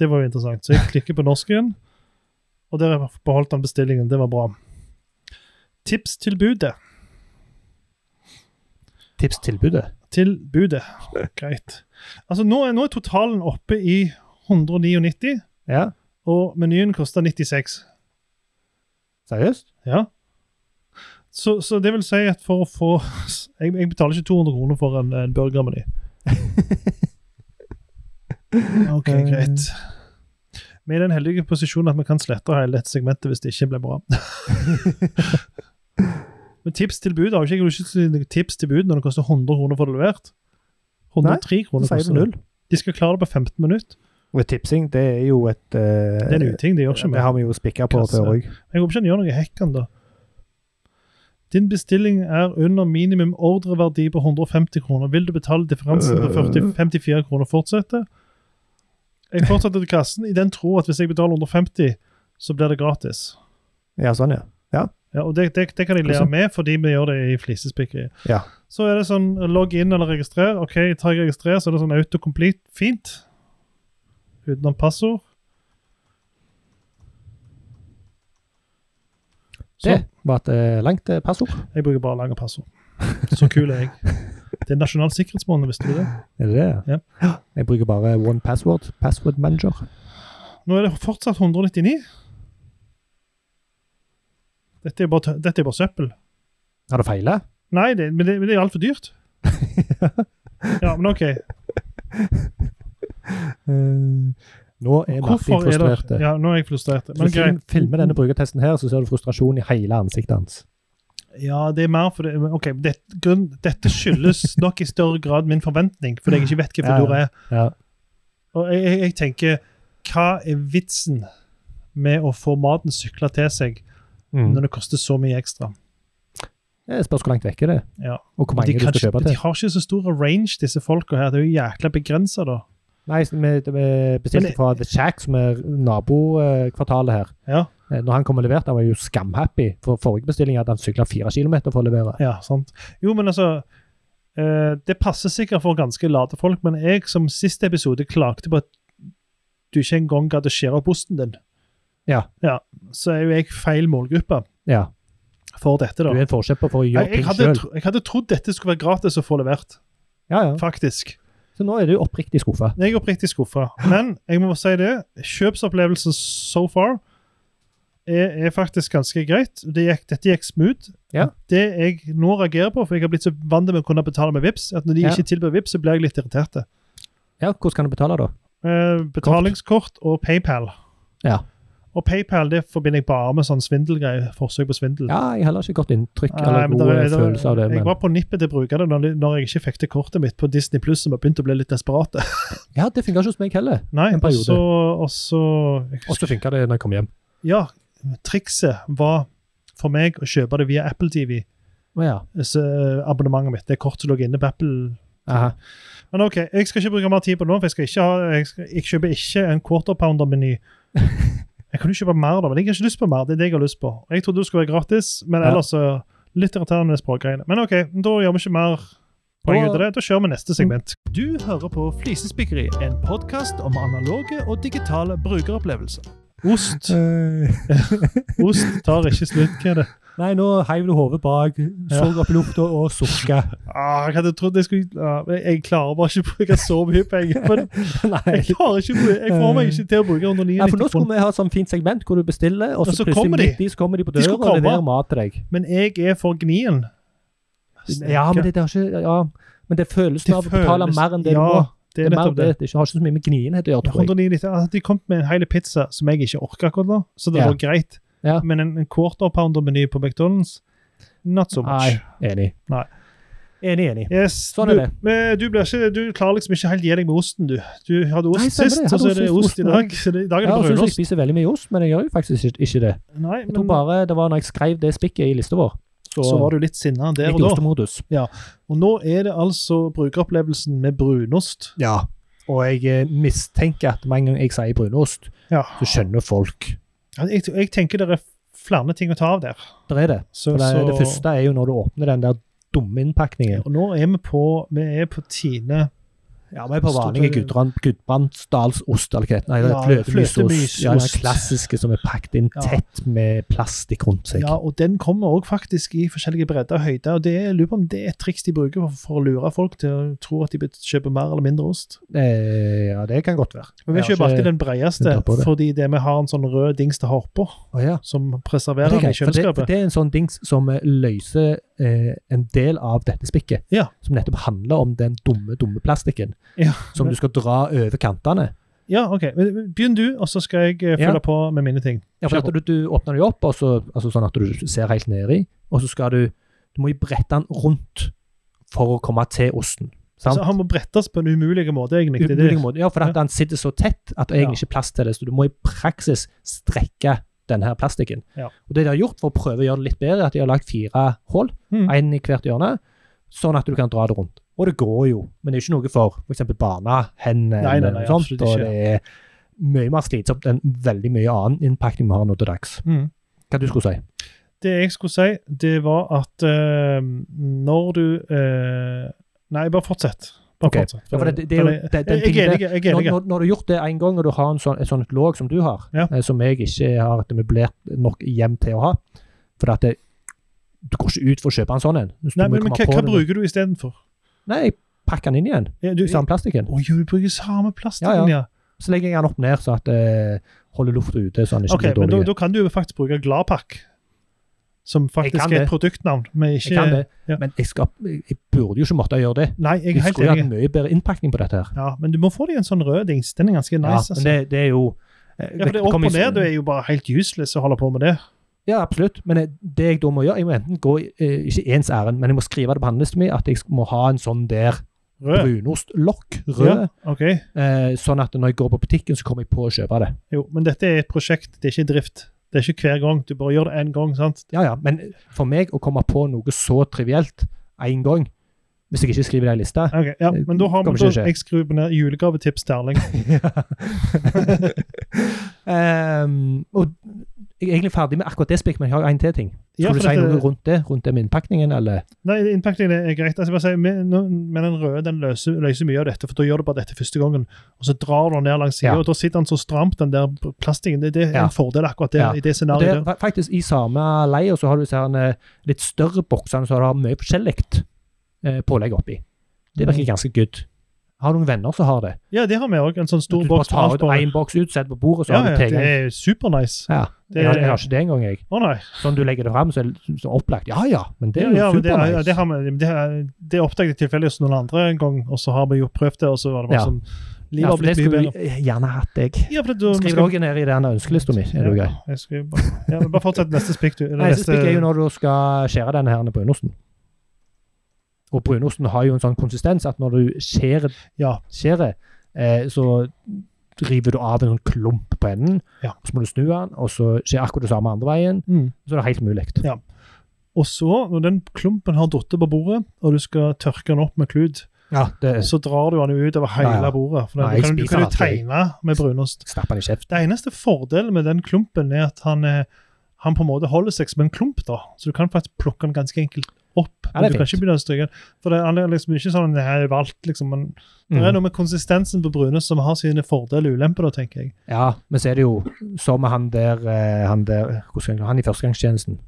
[SPEAKER 1] Det var jo interessant. Så jeg klikker på norsk igjen. Og der har jeg beholdt den bestillingen. Det var bra. Tipstilbudet.
[SPEAKER 2] Tipstilbudet.
[SPEAKER 1] Tilbudet. Greit. Altså, nå er, nå er totalen oppe i 199,
[SPEAKER 2] Ja.
[SPEAKER 1] og menyen koster 96.
[SPEAKER 2] Seriøst?
[SPEAKER 1] Ja. Så, så det vil si at for å få Jeg, jeg betaler ikke 200 kroner for en, en burger med de. OK, Eh, greit. Vi er i den heldige posisjonen at vi kan slette hele dette segmentet hvis det ikke ble bra. Men tips til bud har jo ikke jeg har jo ikke tips til bud når det koster 100 kroner for det levert. 103
[SPEAKER 2] Så
[SPEAKER 1] kroner
[SPEAKER 2] sier du
[SPEAKER 1] koster det.
[SPEAKER 2] null.
[SPEAKER 1] De skal klare det på 15 minutter.
[SPEAKER 2] Og tipsing, det er jo et eh,
[SPEAKER 1] Det er en uting. Det gjør ikke vi.
[SPEAKER 2] Det har vi jo spikka på
[SPEAKER 1] Kasse.
[SPEAKER 2] før òg.
[SPEAKER 1] Jeg håper ikke han gjør noe hekkan, da. Din bestilling er under minimum ordreverdi på 150 kroner. Vil du betale differansen på 40, 54 kroner? Fortsette? Jeg fortsetter til kassen i den tro at hvis jeg betaler 150, så blir det gratis.
[SPEAKER 2] Ja, sånn, ja.
[SPEAKER 1] Ja, og det, det, det kan jeg lære
[SPEAKER 2] Altså.
[SPEAKER 1] med, fordi vi gjør det i flisespikkeriet.
[SPEAKER 2] Ja.
[SPEAKER 1] Så er det sånn logg inn eller registrer. OK, tar jeg registrer, så er det sånn autocomplete. Fint. Utenom passord.
[SPEAKER 2] Det var et eh, langt eh, passord.
[SPEAKER 1] Jeg bruker bare lange passord. Så kul er jeg. Det er nasjonal sikkerhetsmåned, visste du det?
[SPEAKER 2] Er det det?
[SPEAKER 1] Ja.
[SPEAKER 2] Jeg bruker bare one password. Password manager.
[SPEAKER 1] Nå er det fortsatt 199. Dette er bare, tø- dette er bare søppel.
[SPEAKER 2] Har det feila?
[SPEAKER 1] Nei, det, men det, men det er altfor dyrt. Ja, men OK.
[SPEAKER 2] Eh, nå er Martin
[SPEAKER 1] Hvorfor er
[SPEAKER 2] frustrert.
[SPEAKER 1] det Ja, nå er jeg frustrert. Men
[SPEAKER 2] Hvis du
[SPEAKER 1] greit.
[SPEAKER 2] film- filmer denne brukertesten her, så ser du frustrasjon i hele ansiktet hans.
[SPEAKER 1] Ja, det er mer for det men OK, det, grunn, dette skyldes nok i større grad min forventning, fordi jeg ikke vet hva
[SPEAKER 2] Ja, ja.
[SPEAKER 1] Fedora er.
[SPEAKER 2] Ja.
[SPEAKER 1] Og jeg, jeg, jeg tenker Hva er vitsen med å få maten sykla til seg
[SPEAKER 2] Mm.
[SPEAKER 1] når det koster så mye ekstra?
[SPEAKER 2] Det spørs hvor langt vekk er det
[SPEAKER 1] Ja.
[SPEAKER 2] og hvor mange
[SPEAKER 1] De,
[SPEAKER 2] du
[SPEAKER 1] kan, ikke-
[SPEAKER 2] skal kjøpe
[SPEAKER 1] de
[SPEAKER 2] til.
[SPEAKER 1] har ikke så stor range, disse folka her. Det er jo jækla begrensa, da.
[SPEAKER 2] Nei, så vi, vi bestilte
[SPEAKER 1] Men-
[SPEAKER 2] fra The Shack, som er nabokvartalet her.
[SPEAKER 1] Ja,
[SPEAKER 2] Eh, Når han kom og leverte, han var jo skamhappy. For forrige bestilling hadde han sykla fire kilometer for å levere.
[SPEAKER 1] ja, sant. Jo, men altså eh, Det passer sikkert for ganske late folk, men jeg som siste episode klagde på at du ikke engang gadd å skjære opp osten din.
[SPEAKER 2] Ja.
[SPEAKER 1] Så er jo jeg feil målgruppe
[SPEAKER 2] Ja,
[SPEAKER 1] for dette,
[SPEAKER 2] Du
[SPEAKER 1] da.
[SPEAKER 2] er
[SPEAKER 1] Jeg,
[SPEAKER 2] en forkjemper for å gjøre
[SPEAKER 1] jeg,
[SPEAKER 2] ting
[SPEAKER 1] hadde,
[SPEAKER 2] sjøl.
[SPEAKER 1] tro- jeg hadde trodd dette skulle være gratis å få levert,
[SPEAKER 2] Ja, ja.
[SPEAKER 1] faktisk.
[SPEAKER 2] Så nå er du oppriktig skuffa.
[SPEAKER 1] Jeg er oppriktig skuffa. Men jeg må si det, kjøpsopplevelsen so far er, er faktisk ganske greit. Det gikk, dette gikk smooth.
[SPEAKER 2] Ja.
[SPEAKER 1] Det jeg nå reagerer på, for jeg har blitt så vant med å kunne betale med VIPs, at når de
[SPEAKER 2] Ja.
[SPEAKER 1] ikke tilbyr VIPs, så blir jeg litt irritert.
[SPEAKER 2] Ja, hvordan kan du betale, da?
[SPEAKER 1] Eh, betalingskort og PayPal.
[SPEAKER 2] Ja.
[SPEAKER 1] Og PayPal det forbinder jeg bare med sånn svindelgreier. Forsøk på svindel.
[SPEAKER 2] ja, jeg har heller ikke godt inntrykk
[SPEAKER 1] Nei,
[SPEAKER 2] eller
[SPEAKER 1] men
[SPEAKER 2] god
[SPEAKER 1] der er-
[SPEAKER 2] eh,
[SPEAKER 1] der-
[SPEAKER 2] følelse av det.
[SPEAKER 1] Jeg
[SPEAKER 2] Men...
[SPEAKER 1] var på nippet til å bruke det når, når jeg ikke fikk det kortet mitt på Disney Pluss, som har begynt å bli litt desperate.
[SPEAKER 2] Ja, det funka ikke hos meg heller.
[SPEAKER 1] Nei,
[SPEAKER 2] En
[SPEAKER 1] og
[SPEAKER 2] periode.
[SPEAKER 1] så, og så jeg
[SPEAKER 2] Og så funka det når jeg kom hjem.
[SPEAKER 1] Ja, trikset var for meg å kjøpe det via Apple TV.
[SPEAKER 2] Å ja.
[SPEAKER 1] Så eh, abonnementet mitt. Det er kort som lå inne på Apple.
[SPEAKER 2] Aha.
[SPEAKER 1] Men OK, jeg skal ikke bruke mer tid på det nå, for jeg, skal ikke ha, jeg, skal, jeg kjøper ikke en quarter pounder-meny. Jeg kan jo kjøpe mer, da, men jeg har ikke lyst på mer. Det er det jeg har lyst på. Jeg trodde det skulle være gratis, men
[SPEAKER 2] Ja.
[SPEAKER 1] ellers så litt irriterende med språkgreiene. Men OK, da gjør vi ikke mer poeng ut av det. Da kjører vi neste segment. Du hører på Flisespikkeri, en podkast om analoge og digitale brukeropplevelser. Ost.
[SPEAKER 2] Eh.
[SPEAKER 1] Ost tar ikke slutt, hva er det?
[SPEAKER 2] Nei, nå heiv du hodet bak, så opp i lufta og sukka.
[SPEAKER 1] Ah, jeg hadde trodd jeg skulle ah, men Jeg klarer bare ikke å bruke så mye penger på det.
[SPEAKER 2] Nei.
[SPEAKER 1] Jeg klarer ikke å bruke, jeg får meg ikke til å bruke
[SPEAKER 2] Ja, for nå
[SPEAKER 1] 199
[SPEAKER 2] skulle
[SPEAKER 1] kroner.
[SPEAKER 2] vi ha et sånt fint segment hvor du bestiller, og så,
[SPEAKER 1] Og så
[SPEAKER 2] plutselig
[SPEAKER 1] kommer de.
[SPEAKER 2] midt i så kommer de på
[SPEAKER 1] De
[SPEAKER 2] døra
[SPEAKER 1] skulle
[SPEAKER 2] og leverer
[SPEAKER 1] komme.
[SPEAKER 2] mat til deg.
[SPEAKER 1] Men jeg er for gnien.
[SPEAKER 2] Ja, men det, det har ikke Ja, men det er følelsen
[SPEAKER 1] Det
[SPEAKER 2] av å betale
[SPEAKER 1] føles-
[SPEAKER 2] mer enn det du
[SPEAKER 1] ja,
[SPEAKER 2] må.
[SPEAKER 1] det er
[SPEAKER 2] mer
[SPEAKER 1] nettopp det.
[SPEAKER 2] det. Det har ikke så mye med gnienhet å gjøre, tror jeg.
[SPEAKER 1] 199, altså, de kom med en hel pizza som jeg ikke orker akkurat nå, så det
[SPEAKER 2] Ja.
[SPEAKER 1] var greit.
[SPEAKER 2] Ja.
[SPEAKER 1] Men en, en quarter pounder-meny på McDonald's, not so
[SPEAKER 2] Nei,
[SPEAKER 1] much.
[SPEAKER 2] enig.
[SPEAKER 1] Nei.
[SPEAKER 2] Enig, enig.
[SPEAKER 1] Yes,
[SPEAKER 2] Sånn
[SPEAKER 1] du,
[SPEAKER 2] er det.
[SPEAKER 1] men eh, du, blir ikke, du klarer liksom ikke helt gi deg med osten, du. Du hadde ost
[SPEAKER 2] Nei, stemmer det.
[SPEAKER 1] sist,
[SPEAKER 2] Jeg
[SPEAKER 1] og så
[SPEAKER 2] hadde
[SPEAKER 1] er det
[SPEAKER 2] ost
[SPEAKER 1] ost
[SPEAKER 2] sist,
[SPEAKER 1] i dag. Så det, i dag er det
[SPEAKER 2] Ja, jeg syns jeg
[SPEAKER 1] brunost.
[SPEAKER 2] spiser veldig mye ost, men jeg gjør jo faktisk ikke, ikke det.
[SPEAKER 1] Nei,
[SPEAKER 2] Jeg tror
[SPEAKER 1] men
[SPEAKER 2] bare det var når jeg skrev det spikket i lista vår. Så,
[SPEAKER 1] så var du litt sinna der
[SPEAKER 2] gikk
[SPEAKER 1] og
[SPEAKER 2] det
[SPEAKER 1] da.
[SPEAKER 2] ostemodus.
[SPEAKER 1] Og nå er det altså brukeropplevelsen med brunost.
[SPEAKER 2] Ja. Og jeg eh, mistenker at med en gang jeg sier brunost,
[SPEAKER 1] Ja.
[SPEAKER 2] så skjønner folk.
[SPEAKER 1] Jeg, jeg tenker det er flere ting å ta av der.
[SPEAKER 2] Der er det.
[SPEAKER 1] Så,
[SPEAKER 2] For det,
[SPEAKER 1] så-
[SPEAKER 2] det første er jo når du åpner den der dumme innpakningen.
[SPEAKER 1] Og nå er vi på Vi er på Tine Ja, vi er
[SPEAKER 2] På vanlige Gudbrand- Gudbrandsdalsost, eller hva det heter. Nei, det
[SPEAKER 1] Ja,
[SPEAKER 2] er fløtemysost.
[SPEAKER 1] fløtemysost.
[SPEAKER 2] Ja, den klassiske som er pakket inn
[SPEAKER 1] Ja.
[SPEAKER 2] tett med plastikk rundt seg.
[SPEAKER 1] Ja, og den kommer òg faktisk i forskjellige bredder og høyder. og det, Jeg lurer på om det er et triks de bruker for, for å lure folk til å tro at de bet- kjøper mer eller mindre ost.
[SPEAKER 2] Eh, ja, det kan godt være.
[SPEAKER 1] Men vi
[SPEAKER 2] Jeg har
[SPEAKER 1] kjøper alltid den bredeste,
[SPEAKER 2] undret på det.
[SPEAKER 1] fordi det vi har en sånn rød dings til hopper,
[SPEAKER 2] Å, ja.
[SPEAKER 1] som
[SPEAKER 2] Men
[SPEAKER 1] preserverer
[SPEAKER 2] det
[SPEAKER 1] den
[SPEAKER 2] er
[SPEAKER 1] i
[SPEAKER 2] greit, for det, for
[SPEAKER 1] kjøleskapet.
[SPEAKER 2] det er en sånn dings som eh, løser eh, en del av dette spikket.
[SPEAKER 1] Ja.
[SPEAKER 2] Som nettopp handler om den dumme, dumme plastikken.
[SPEAKER 1] Ja.
[SPEAKER 2] Som du skal dra over kantene.
[SPEAKER 1] Ja, ok. Men Begynn du, og så skal jeg eh,
[SPEAKER 2] Ja.
[SPEAKER 1] følge på med mine ting.
[SPEAKER 2] Ja, for
[SPEAKER 1] Kjør
[SPEAKER 2] at du, du åpner den jo opp, og så, altså sånn at du ser helt nedi, og så skal du Du må jo brette den rundt for å komme til osten. Sant?
[SPEAKER 1] Så Altså, Han må brettes på en umulig måte, egentlig. Det er
[SPEAKER 2] Umulig
[SPEAKER 1] det.
[SPEAKER 2] måte. Ja, for at
[SPEAKER 1] Ja.
[SPEAKER 2] den sitter så tett at det er
[SPEAKER 1] Ja.
[SPEAKER 2] egentlig ikke er plass til det. Så du må i praksis strekke denne plastikken.
[SPEAKER 1] Ja.
[SPEAKER 2] Og det de har gjort for å prøve å gjøre det litt bedre, er at de har lagd fire hull,
[SPEAKER 1] Mm.
[SPEAKER 2] én i hvert hjørne, sånn at du kan dra det rundt. Og det går jo, men det er ikke noe for f.eks.
[SPEAKER 1] Nei,
[SPEAKER 2] barnehender
[SPEAKER 1] nei,
[SPEAKER 2] eller
[SPEAKER 1] nei,
[SPEAKER 2] noe sånt.
[SPEAKER 1] absolutt ikke.
[SPEAKER 2] Og det er mye mer slitsomt enn veldig mye annen innpakning vi har nå til dags.
[SPEAKER 1] Mm.
[SPEAKER 2] Hva du skulle si?
[SPEAKER 1] Det jeg skulle si, det var at eh, når du eh, Nei, bare fortsett. Bare
[SPEAKER 2] Ok.
[SPEAKER 1] fortsett.
[SPEAKER 2] Ja, for det, det er jo,
[SPEAKER 1] jeg,
[SPEAKER 2] det, den
[SPEAKER 1] jeg
[SPEAKER 2] tingen
[SPEAKER 1] er
[SPEAKER 2] der-
[SPEAKER 1] enig. Jeg er
[SPEAKER 2] når,
[SPEAKER 1] enig.
[SPEAKER 2] når, når du har gjort det en gang, og du har en sånn, et sånt låg som du har,
[SPEAKER 1] Ja.
[SPEAKER 2] eh, som jeg ikke har et møblert nok hjem til å ha For at det, du går ikke ut for å kjøpe en sånn en. Så du
[SPEAKER 1] Nei,
[SPEAKER 2] må
[SPEAKER 1] men,
[SPEAKER 2] jo
[SPEAKER 1] men
[SPEAKER 2] komme
[SPEAKER 1] hva,
[SPEAKER 2] på
[SPEAKER 1] hva
[SPEAKER 2] det.
[SPEAKER 1] bruker du istedenfor?
[SPEAKER 2] Nei, jeg pakker den inn igjen.
[SPEAKER 1] Ja, du,
[SPEAKER 2] I samme plastikken.
[SPEAKER 1] Å, jo, du bruker samme plastikken, ja.
[SPEAKER 2] Ja, ja. Så legger jeg den opp ned, så at det holder lufta ute, så den ikke
[SPEAKER 1] Ok,
[SPEAKER 2] blir
[SPEAKER 1] men da,
[SPEAKER 2] dårlig.
[SPEAKER 1] da kan du jo faktisk bruke Gladpakk, som faktisk
[SPEAKER 2] kan
[SPEAKER 1] er
[SPEAKER 2] det.
[SPEAKER 1] et produktnavn. Men ikke,
[SPEAKER 2] jeg kan det,
[SPEAKER 1] ja.
[SPEAKER 2] men jeg, skal, jeg burde jo ikke måtte gjøre det.
[SPEAKER 1] Nei, jeg
[SPEAKER 2] Jeg
[SPEAKER 1] er helt
[SPEAKER 2] skulle hatt
[SPEAKER 1] enig.
[SPEAKER 2] en mye bedre innpakning på dette her.
[SPEAKER 1] Ja, men du må få deg en sånn rød dings. Den er ganske
[SPEAKER 2] Ja,
[SPEAKER 1] nice.
[SPEAKER 2] men
[SPEAKER 1] altså.
[SPEAKER 2] det, det er jo eh,
[SPEAKER 1] ja, for det er
[SPEAKER 2] kom
[SPEAKER 1] opp
[SPEAKER 2] i-
[SPEAKER 1] og ned, du er jo bare helt useless å holde på med det.
[SPEAKER 2] Ja, absolutt. Men jeg- det jeg da må gjøre, jeg må enten gå, i- eh, ikke ens ærend, men jeg må skrive det på handlelisten min at jeg sk- må ha en sånn der
[SPEAKER 1] Rød.
[SPEAKER 2] brunostlokk, rød,
[SPEAKER 1] Ja, ok.
[SPEAKER 2] eh, sånn at når jeg går på butikken, så kommer jeg på å kjøpe det.
[SPEAKER 1] Jo, men dette er et prosjekt, det er ikke drift. Det er ikke hver gang. Du bare gjør det én gang, sant?
[SPEAKER 2] Ja, ja, men for meg å komme på noe så trivielt én gang, hvis jeg ikke skriver det i lista
[SPEAKER 1] Ok, ja, Men da har vi
[SPEAKER 2] Kommer
[SPEAKER 1] da,
[SPEAKER 2] ikke til å skje.
[SPEAKER 1] Jeg skrur på ned julegavetips til Erling.
[SPEAKER 2] Ehm, Og jeg er egentlig ferdig med akkurat det spikk, men jeg har jo en til ting. Skal
[SPEAKER 1] Ja,
[SPEAKER 2] du
[SPEAKER 1] for
[SPEAKER 2] si
[SPEAKER 1] dette-
[SPEAKER 2] noe rundt det? Rundt det med innpakningen, eller?
[SPEAKER 1] Nei, innpakningen er greit. Altså, jeg bare sier, men, nå- men den røde den løser, løser mye av dette, for da gjør du bare dette første gangen, og så drar du den ned langs sida,
[SPEAKER 2] Ja.
[SPEAKER 1] og da sitter den så stramt, den der plastikken. Det, det er
[SPEAKER 2] Ja.
[SPEAKER 1] en fordel akkurat der,
[SPEAKER 2] Ja.
[SPEAKER 1] i det
[SPEAKER 2] Og
[SPEAKER 1] scenarioet
[SPEAKER 2] det
[SPEAKER 1] der.
[SPEAKER 2] er fa- faktisk i samme leie, så har du sånn, eh, litt større bokser som har mye forskjellig eh, pålegg oppi. Det virker
[SPEAKER 1] Mm.
[SPEAKER 2] ganske good. Jeg har noen venner som har det.
[SPEAKER 1] Ja, det har vi òg. En sånn stor
[SPEAKER 2] du bare
[SPEAKER 1] boks med
[SPEAKER 2] tar
[SPEAKER 1] alt
[SPEAKER 2] ut
[SPEAKER 1] på.
[SPEAKER 2] én boks ut, setter på bordet, så
[SPEAKER 1] Ja, ja,
[SPEAKER 2] har du
[SPEAKER 1] det
[SPEAKER 2] tilgang.
[SPEAKER 1] er supernice. Å
[SPEAKER 2] Ja,
[SPEAKER 1] Det-
[SPEAKER 2] jeg, har, jeg har ikke det engang, jeg.
[SPEAKER 1] nei.
[SPEAKER 2] Sånn du legger det fram, så er det så opplagt. Ja ja, men det er jo
[SPEAKER 1] ja, men det,
[SPEAKER 2] supernice.
[SPEAKER 1] ja, det, har vi, det, det oppdaget jeg tilfeldigvis noen andre en gang, og så har vi jo prøvd det, og så var det bare
[SPEAKER 2] Ja.
[SPEAKER 1] sånn
[SPEAKER 2] Ja,
[SPEAKER 1] Livet har
[SPEAKER 2] for det
[SPEAKER 1] blitt mye
[SPEAKER 2] skulle
[SPEAKER 1] bedre.
[SPEAKER 2] jeg gjerne hatt, jeg.
[SPEAKER 1] Ja, for det, du,
[SPEAKER 2] Skriv det òg ned i den ønskelista mi, er det jo
[SPEAKER 1] ja,
[SPEAKER 2] grei.
[SPEAKER 1] jeg skal bare, ja, men bare fortsett neste spikk, du. Eller
[SPEAKER 2] Nei, så
[SPEAKER 1] neste,
[SPEAKER 2] spikker jeg jo når du skal skjære denne her brunosten. Og brunosten har jo en sånn konsistens at når du skjærer
[SPEAKER 1] ja,
[SPEAKER 2] skjer det, eh, så river du av en sånn klump på enden.
[SPEAKER 1] Ja.
[SPEAKER 2] Så må du snu den, og så skjer akkurat det samme andre veien.
[SPEAKER 1] mm.
[SPEAKER 2] Så er det helt mulig.
[SPEAKER 1] Ja. Og så, når den klumpen har datt på bordet, og du skal tørke den opp med klut,
[SPEAKER 2] Ja, det
[SPEAKER 1] så drar du den jo utover hele
[SPEAKER 2] Ja, ja.
[SPEAKER 1] bordet. For
[SPEAKER 2] Nei,
[SPEAKER 1] den,
[SPEAKER 2] jeg
[SPEAKER 1] du kan, du
[SPEAKER 2] spiser
[SPEAKER 1] kan jo
[SPEAKER 2] den alltid, jeg.
[SPEAKER 1] tegne med brunost.
[SPEAKER 2] stapper den i kjeften.
[SPEAKER 1] Det eneste fordelen med den klumpen er at han, eh, han på en måte holder seg som en klump, da. Så du kan faktisk plukke den ganske enkelt opp.
[SPEAKER 2] Ja, det er
[SPEAKER 1] du kan
[SPEAKER 2] fint.
[SPEAKER 1] ikke begynne å stryke den. For det, han er liksom ikke sånn det her er valgt, liksom. Men det
[SPEAKER 2] Mm.
[SPEAKER 1] er noe med konsistensen på brunost som har sine fordeler og ulemper, da, tenker jeg.
[SPEAKER 2] Ja, men så er det jo som med han der, eh, han der hvordan skal jeg, han i førstegangstjenesten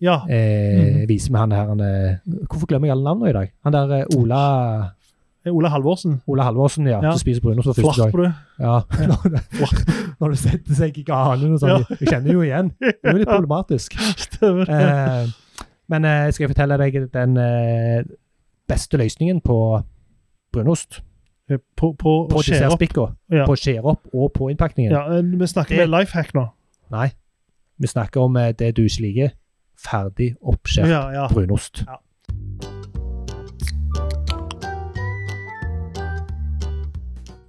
[SPEAKER 1] Ja.
[SPEAKER 2] eh, viser med han her han, eh, Hvorfor glemmer jeg alle navnene i dag? Han der eh, Ola,
[SPEAKER 1] Ola Halvorsen.
[SPEAKER 2] Ola Halvorsen, ja,
[SPEAKER 1] Ja.
[SPEAKER 2] som spiser brunost for første
[SPEAKER 1] Flart
[SPEAKER 2] gang.
[SPEAKER 1] på det.
[SPEAKER 2] Ja. Når du setter seg i ganen og sånn. Jeg kjenner jo igjen. Det er jo litt problematisk.
[SPEAKER 1] Stemmer. det.
[SPEAKER 2] Eh, men eh, skal jeg fortelle deg den eh, beste løsningen på brunost?
[SPEAKER 1] På, på,
[SPEAKER 2] På
[SPEAKER 1] å skjære opp.
[SPEAKER 2] dessertspikka.
[SPEAKER 1] Ja.
[SPEAKER 2] På skjære opp og på innpakningen.
[SPEAKER 1] Ja, eh, vi snakker med
[SPEAKER 2] Det-
[SPEAKER 1] lifehack nå.
[SPEAKER 2] Nei, vi snakker om eh, det du ikke liker. Ferdig oppskjært
[SPEAKER 1] Ja, ja.
[SPEAKER 2] brunost.
[SPEAKER 1] Ja.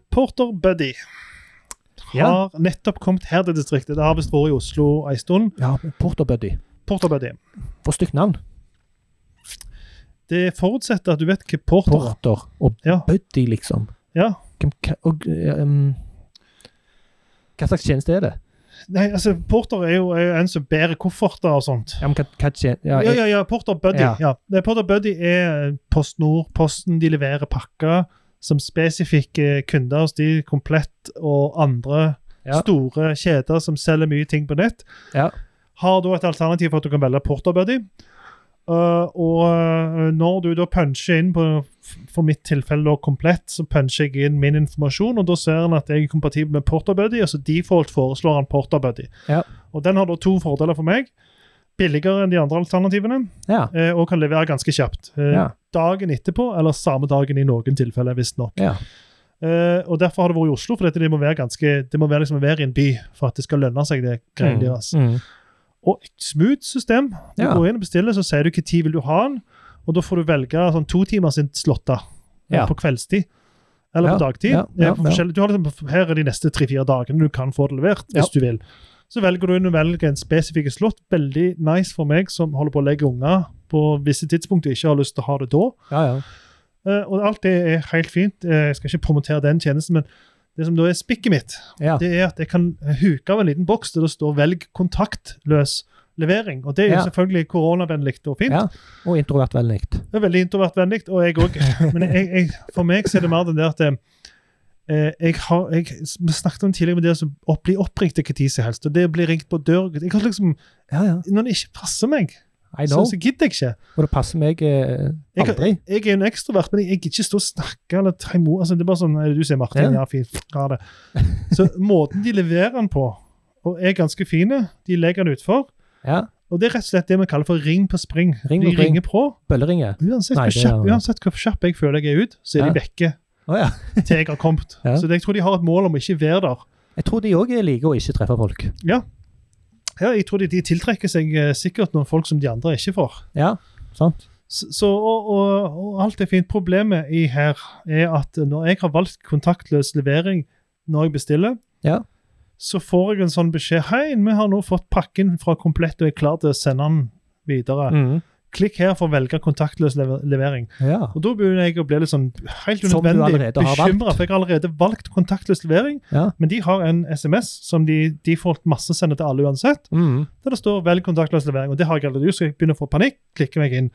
[SPEAKER 1] Porter Buddy
[SPEAKER 2] Ja.
[SPEAKER 1] har nettopp kommet her til distriktet. Det har visst vært i Oslo en stund.
[SPEAKER 2] ja, Porter Buddy.
[SPEAKER 1] Porter Buddy.
[SPEAKER 2] For stygt navn.
[SPEAKER 1] Det forutsetter at du vet hva porter er.
[SPEAKER 2] Porter og
[SPEAKER 1] Ja.
[SPEAKER 2] Buddy, liksom.
[SPEAKER 1] Ja.
[SPEAKER 2] Hvem, hva, og, eh, um, hva slags tjeneste er det?
[SPEAKER 1] Nei, altså, porter er jo, er jo en som bærer kofferter og sånt.
[SPEAKER 2] Ja, men hva, hva tjen ja,
[SPEAKER 1] Ja, ja, ja. Porter Buddy.
[SPEAKER 2] Ja.
[SPEAKER 1] Ja. Det er Porter Buddy er PostNord, Posten, de leverer pakker. som spesifikke kunder hos de, komplett og andre
[SPEAKER 2] Ja.
[SPEAKER 1] store kjeder som selger mye ting på nett,
[SPEAKER 2] Ja.
[SPEAKER 1] har da et alternativ for at du kan velge Porterbuddy. Uh, og eh, når du da puncher inn på for mitt tilfelle da komplett, så puncher jeg inn min informasjon, og da ser han at jeg er kompatibel med Porterbuddy, og så default foreslår han Porterbuddy.
[SPEAKER 2] Ja.
[SPEAKER 1] Og den har da to fordeler for meg. Billigere enn de andre alternativene,
[SPEAKER 2] Ja.
[SPEAKER 1] eh, og kan levere ganske kjapt. Eh,
[SPEAKER 2] Ja.
[SPEAKER 1] Dagen etterpå, eller samme dagen i noen tilfeller, visstnok.
[SPEAKER 2] Ja.
[SPEAKER 1] Eh, og derfor har det vært i Oslo, for dette, det må være, ganske, det må være, liksom, være i en by for at det skal lønne seg, det greiene deres.
[SPEAKER 2] Mm.
[SPEAKER 1] Og et smooth system. Du
[SPEAKER 2] Ja.
[SPEAKER 1] går inn og bestiller, så sier du hva tid vil du ha den, og da får du velge sånn to timer sin slotta
[SPEAKER 2] Ja.
[SPEAKER 1] på kveldstid. Eller på
[SPEAKER 2] Ja,
[SPEAKER 1] dagtid.
[SPEAKER 2] ja, ja,
[SPEAKER 1] Eh, på
[SPEAKER 2] ja.
[SPEAKER 1] forskjellig- Du har liksom, her er de neste tre-fire dagene du kan få det levert,
[SPEAKER 2] Ja.
[SPEAKER 1] hvis du vil. Så velger du inn og velger en spesifikk slott. Veldig nice for meg som holder på å legge unger på visse tidspunkt og ikke har lyst til å ha det da.
[SPEAKER 2] ja, ja.
[SPEAKER 1] Eh, og alt det er helt fint. Eh, jeg skal ikke promotere den tjenesten, men det som da er spikket mitt,
[SPEAKER 2] Ja.
[SPEAKER 1] det er at jeg kan huke av en liten boks der det står 'velg kontaktløs levering'. Og det er jo
[SPEAKER 2] Ja.
[SPEAKER 1] selvfølgelig koronavennlig og fint.
[SPEAKER 2] Ja. Og introvert veldig likt.
[SPEAKER 1] Det er veldig introvertvennlig, og jeg òg. Men jeg, jeg, for meg så er det mer den der at eh, jeg har, jeg, Vi snakket om tidligere med det å opp, bli oppringt til hva tid som helst, og det å bli ringt på dør jeg har liksom,
[SPEAKER 2] Ja, ja.
[SPEAKER 1] Når det ikke passer meg,
[SPEAKER 2] I
[SPEAKER 1] så,
[SPEAKER 2] know.
[SPEAKER 1] så gidder jeg ikke.
[SPEAKER 2] Og det passer meg eh,
[SPEAKER 1] Jeg kan-
[SPEAKER 2] aldri.
[SPEAKER 1] jeg er jo en ekstrovert, men jeg gidder ikke stå og snakke eller ta imot. Altså, det er bare sånn, «Er det Du sier Martin,
[SPEAKER 2] Ja.
[SPEAKER 1] ja, fint, ha det. Så måten de leverer den på, og er ganske fine, de legger den utfor.
[SPEAKER 2] Ja.
[SPEAKER 1] Og det er rett og slett det vi kaller for ring på spring.
[SPEAKER 2] Ring
[SPEAKER 1] de
[SPEAKER 2] på spring.
[SPEAKER 1] ringer på.
[SPEAKER 2] Bølleringe.
[SPEAKER 1] Uansett,
[SPEAKER 2] Nei,
[SPEAKER 1] hvor
[SPEAKER 2] det er-
[SPEAKER 1] kjapp, uansett hvor kjapp jeg føler jeg er ut, så er de vekke
[SPEAKER 2] Å ja.
[SPEAKER 1] til jeg har kommet.
[SPEAKER 2] Ja.
[SPEAKER 1] Så det, jeg tror de har et mål om å ikke være der.
[SPEAKER 2] Jeg tror de òg liker å ikke treffe folk.
[SPEAKER 1] Ja, jeg tror de, de tiltrekker seg eh, sikkert noen folk som de andre ikke får.
[SPEAKER 2] Ja, sant?
[SPEAKER 1] Så, så- og, og, og alt er fint. Problemet i her er at når jeg har valgt kontaktløs levering når jeg bestiller,
[SPEAKER 2] Ja.
[SPEAKER 1] så får jeg en sånn beskjed Hei, vi har nå fått pakken fra Komplett og er klar til å sende den videre.
[SPEAKER 2] Mm.
[SPEAKER 1] Klikk her for å velge kontaktløs lever- levering.
[SPEAKER 2] Ja.
[SPEAKER 1] Og da begynner jeg å bli litt sånn helt
[SPEAKER 2] Som du
[SPEAKER 1] unødvendig
[SPEAKER 2] allerede har valgt.
[SPEAKER 1] bekymra, for jeg har allerede valgt kontaktløs levering.
[SPEAKER 2] Ja.
[SPEAKER 1] Men de har en SMS som de default masse sender til alle uansett
[SPEAKER 2] Mm.
[SPEAKER 1] der det står 'velg kontaktløs levering'. og Det har jeg allerede gjort, så jeg begynner å få panikk. klikker meg inn.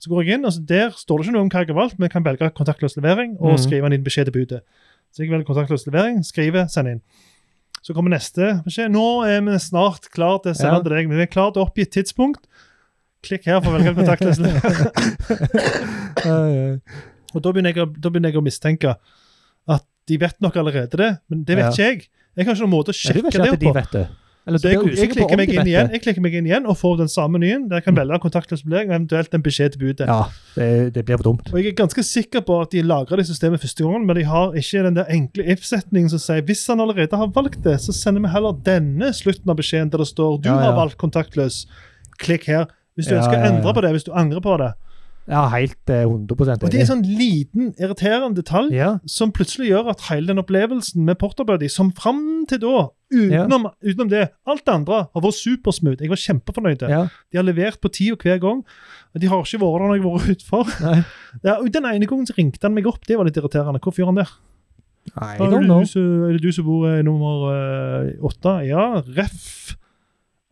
[SPEAKER 1] Så går jeg inn, og så Der står det ikke noe om hva jeg har valgt, men jeg kan velge kontaktløs levering og
[SPEAKER 2] Mhm.
[SPEAKER 1] skrive en beskjed til budet. Så jeg velger kontaktløs levering, skriver, sender inn. Så kommer neste beskjed. 'Nå er vi snart klar til å sende
[SPEAKER 2] Ja.
[SPEAKER 1] til deg', men vi er klar til å oppgi et tidspunkt. Klikk her for å velge kontaktløs levering.
[SPEAKER 2] Eh,
[SPEAKER 1] Og da begynner, jeg, å- da begynner jeg å mistenke at de vet nok allerede det, men det vet
[SPEAKER 2] Ja.
[SPEAKER 1] ikke jeg. Jeg har ikke noen måte å
[SPEAKER 2] Ja, du
[SPEAKER 1] sjekke
[SPEAKER 2] vet ikke
[SPEAKER 1] det
[SPEAKER 2] at de
[SPEAKER 1] på.
[SPEAKER 2] vet det? Eller
[SPEAKER 1] Så
[SPEAKER 2] du
[SPEAKER 1] jeg,
[SPEAKER 2] blir
[SPEAKER 1] jeg,
[SPEAKER 2] usikker på
[SPEAKER 1] klikker
[SPEAKER 2] om de
[SPEAKER 1] meg inn
[SPEAKER 2] vet
[SPEAKER 1] igjen,
[SPEAKER 2] det?
[SPEAKER 1] jeg klikker meg inn igjen og får den samme menyen. Der jeg kan velge kontaktløs vurdering og eventuelt en beskjed til budet.
[SPEAKER 2] Mm. Ja, det, det blir for dumt.
[SPEAKER 1] Og Jeg er ganske sikker på at de lagrer det i systemet første gangen, men de har ikke den der enkle if-setningen som sier hvis han allerede har valgt det, så sender vi heller denne slutten av beskjeden der det står du
[SPEAKER 2] Ja, ja.
[SPEAKER 1] har valgt kontaktløs. Klikk her. Hvis du
[SPEAKER 2] Ja,
[SPEAKER 1] ønsker
[SPEAKER 2] ja, ja.
[SPEAKER 1] å endre på det, hvis du angrer på det.
[SPEAKER 2] Ja, helt eh, 100
[SPEAKER 1] Og Det er sånn- en sånn liten, irriterende detalj
[SPEAKER 2] Ja,
[SPEAKER 1] som plutselig gjør at hele den opplevelsen med Porterbuddy, som fram til da, utenom, utenom det, alt det andre, har vært supersmooth. Jeg var kjempefornøyd.
[SPEAKER 2] ja.
[SPEAKER 1] De har levert på tida hver gang. og De har ikke vært der når jeg har vært utfor.
[SPEAKER 2] Nei.
[SPEAKER 1] Ja, og den ene gangen så ringte han meg opp, det var litt irriterende. Hvorfor gjør han det?
[SPEAKER 2] I
[SPEAKER 1] Er
[SPEAKER 2] don't
[SPEAKER 1] det,
[SPEAKER 2] know.
[SPEAKER 1] du, som- er det du som bor i nummer eh, åtte? Ja, ref.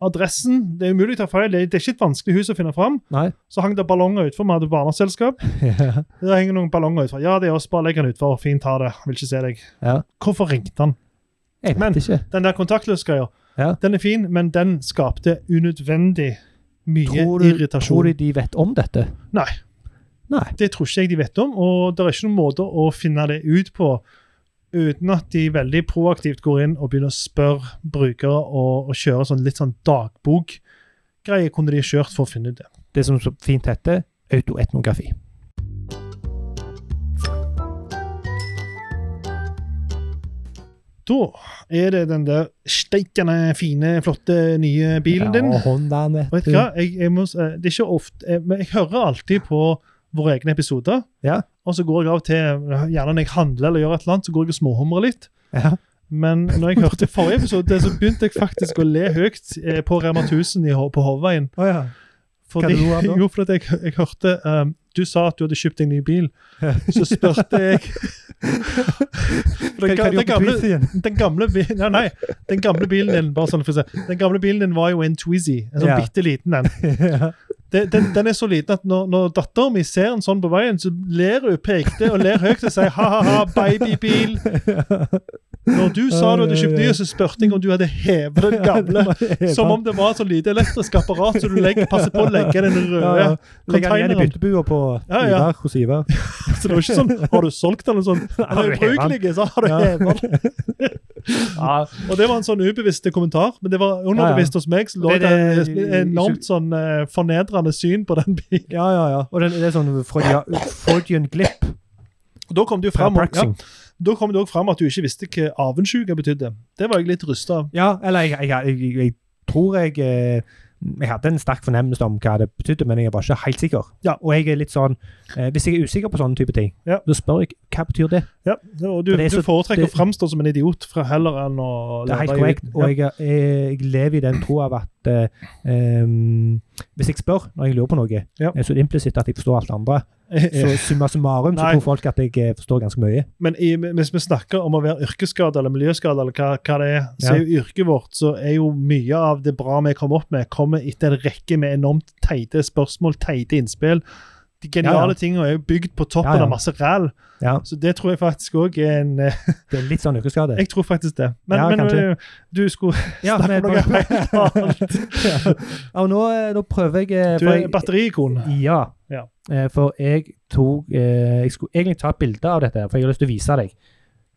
[SPEAKER 1] Adressen Det er umulig å ta feil. Det er det er ikke et vanskelig hus å finne fram.
[SPEAKER 2] Nei.
[SPEAKER 1] Så hang det ballonger utfor. Vi hadde barneselskap.
[SPEAKER 2] Ja.
[SPEAKER 1] Der henger noen ballonger utfor. Ja, det er oss. Bare legg den utfor. Fint, ha det. Vil ikke se deg.
[SPEAKER 2] Ja.
[SPEAKER 1] Hvorfor ringte han?
[SPEAKER 2] Jeg
[SPEAKER 1] Men-
[SPEAKER 2] vet ikke.
[SPEAKER 1] Den der kontaktløsgreia,
[SPEAKER 2] Ja.
[SPEAKER 1] den er fin, men den skapte unødvendig mye
[SPEAKER 2] Tror du,
[SPEAKER 1] irritasjon.
[SPEAKER 2] tror du de vet om dette?
[SPEAKER 1] Nei.
[SPEAKER 2] Nei.
[SPEAKER 1] Det tror ikke jeg de vet om, og det er ikke noen måte å finne det ut på uten at de veldig proaktivt går inn og begynner å spørre brukere og, og kjøre sånn litt sånn dagbokgreie kunne de kjørt for å finne ut det.
[SPEAKER 2] Det som så fint heter autoetnografi.
[SPEAKER 1] Da er det den der steikende fine, flotte nye bilen din.
[SPEAKER 2] Ja, Hondaen, vet
[SPEAKER 1] Og vet du hva? Jeg, jeg må, s- eh, det er ikke ofte, eh, men jeg hører alltid på våre egne episoder.
[SPEAKER 2] Ja.
[SPEAKER 1] Og så går jeg av og til, gjerne når jeg handler eller gjør et eller annet, så går jeg og småhumrer litt.
[SPEAKER 2] Ja.
[SPEAKER 1] Men når jeg hørte forrige episode, så begynte jeg faktisk å le høyt eh, på Rema 1000 i, Ho- på Hovveien.
[SPEAKER 2] Å ja.
[SPEAKER 1] Fordi,
[SPEAKER 2] Hva lo du av da?
[SPEAKER 1] jo, fordi jeg, jeg hørte um, Du sa at du hadde kjøpt deg ny bil. Så spurte jeg den,
[SPEAKER 2] Hva, hva
[SPEAKER 1] ga- den,
[SPEAKER 2] de gjorde på
[SPEAKER 1] gamle,
[SPEAKER 2] quiz igjen?
[SPEAKER 1] den, gamle bilen, nei, nei, den gamle bilen din bare sånn for å si, Den gamle bilen din var jo en Tweezy. En sånn
[SPEAKER 2] Ja.
[SPEAKER 1] bitte liten en.
[SPEAKER 2] ja.
[SPEAKER 1] Det, den, den er så liten at når, når dattera mi ser en sånn på veien, så ler hun pekte og ler høyt og sier ha-ha-ha, babybil. Når du sa du hadde kjøpt ny, så spurte jeg om du hadde hevet den gamle. Som om det var et sånn lite elektrisk apparat, så du legger, passer på å legge den
[SPEAKER 2] ja,
[SPEAKER 1] røde.
[SPEAKER 2] ja. Legger den igjen i
[SPEAKER 1] containeren.
[SPEAKER 2] byttebua på
[SPEAKER 1] Ja, ja.
[SPEAKER 2] Ivar hos Ivar.
[SPEAKER 1] Så det var ikke sånn Har du solgt den? eller sånn, Den
[SPEAKER 2] Har
[SPEAKER 1] er
[SPEAKER 2] du hevet den?
[SPEAKER 1] ubrukelig, så har du
[SPEAKER 2] Ja.
[SPEAKER 1] hevet den.
[SPEAKER 2] Ja,
[SPEAKER 1] Og det var en sånn ubevisst kommentar, men det var underbevisst hos meg. Så lå
[SPEAKER 2] Det-
[SPEAKER 1] det
[SPEAKER 2] det-
[SPEAKER 1] et enormt sånn eh, fornedrende syn på den bilen.
[SPEAKER 2] ja, ja. ja. Og den, det er sånn Freudia, Freudian glip.
[SPEAKER 1] Og Da kom det jo fram, ja,
[SPEAKER 2] Parapraxing.
[SPEAKER 1] da kom det også fram at du ikke visste hva avensjuke betydde. Det var jeg litt rysta av.
[SPEAKER 2] Ja, eller jeg, jeg, jeg, jeg tror jeg eh, Jeg hadde en sterk fornemmelse om hva det betydde, men jeg er bare ikke helt sikker.
[SPEAKER 1] Ja.
[SPEAKER 2] Og jeg er litt sånn eh, Hvis jeg er usikker på sånne type ting,
[SPEAKER 1] Ja.
[SPEAKER 2] så spør jeg hva betyr det
[SPEAKER 1] Ja, og du,
[SPEAKER 2] For det er
[SPEAKER 1] du
[SPEAKER 2] så-
[SPEAKER 1] foretrekker
[SPEAKER 2] det-
[SPEAKER 1] å framstå som en idiot fra heller enn å
[SPEAKER 2] Det er helt
[SPEAKER 1] lære deg-
[SPEAKER 2] korrekt.
[SPEAKER 1] Ja.
[SPEAKER 2] Og jeg, eh, jeg, jeg lever i den tro av at eh, em, hvis jeg spør når jeg lurer på noe,
[SPEAKER 1] Ja.
[SPEAKER 2] eh, så er det implisitt at jeg forstår alt det andre. Så summa summarum så
[SPEAKER 1] Nei.
[SPEAKER 2] tror folk at jeg eh, forstår ganske mye.
[SPEAKER 1] Men i, hvis vi snakker om å være yrkesskada eller miljøskada, eller hva, hva det er, så
[SPEAKER 2] Ja.
[SPEAKER 1] er jo yrket vårt så er jo mye av det bra vi kommer opp med, kommer etter en rekke med enormt teite spørsmål, teite innspill. De
[SPEAKER 2] Ja,
[SPEAKER 1] geniale
[SPEAKER 2] ja.
[SPEAKER 1] tingene er jo bygd på toppen
[SPEAKER 2] Ja, ja.
[SPEAKER 1] av masse ræl.
[SPEAKER 2] Ja,
[SPEAKER 1] Så det tror jeg faktisk òg er en eh,
[SPEAKER 2] Det er litt sånn yrkesskade.
[SPEAKER 1] Jeg tror faktisk det. Men,
[SPEAKER 2] Ja,
[SPEAKER 1] men
[SPEAKER 2] kanskje.
[SPEAKER 1] eh, du skulle
[SPEAKER 2] Ja,
[SPEAKER 1] snakke om
[SPEAKER 2] men-
[SPEAKER 1] noe helt annet.
[SPEAKER 2] ja. Og nå, eh, nå prøver jeg eh,
[SPEAKER 1] Du
[SPEAKER 2] for
[SPEAKER 1] er
[SPEAKER 2] jeg-
[SPEAKER 1] batteriikon.
[SPEAKER 2] Ja.
[SPEAKER 1] Ja.
[SPEAKER 2] Eh, For jeg tok eh, Jeg skulle egentlig ta et bilde av dette, for jeg har lyst til å vise deg.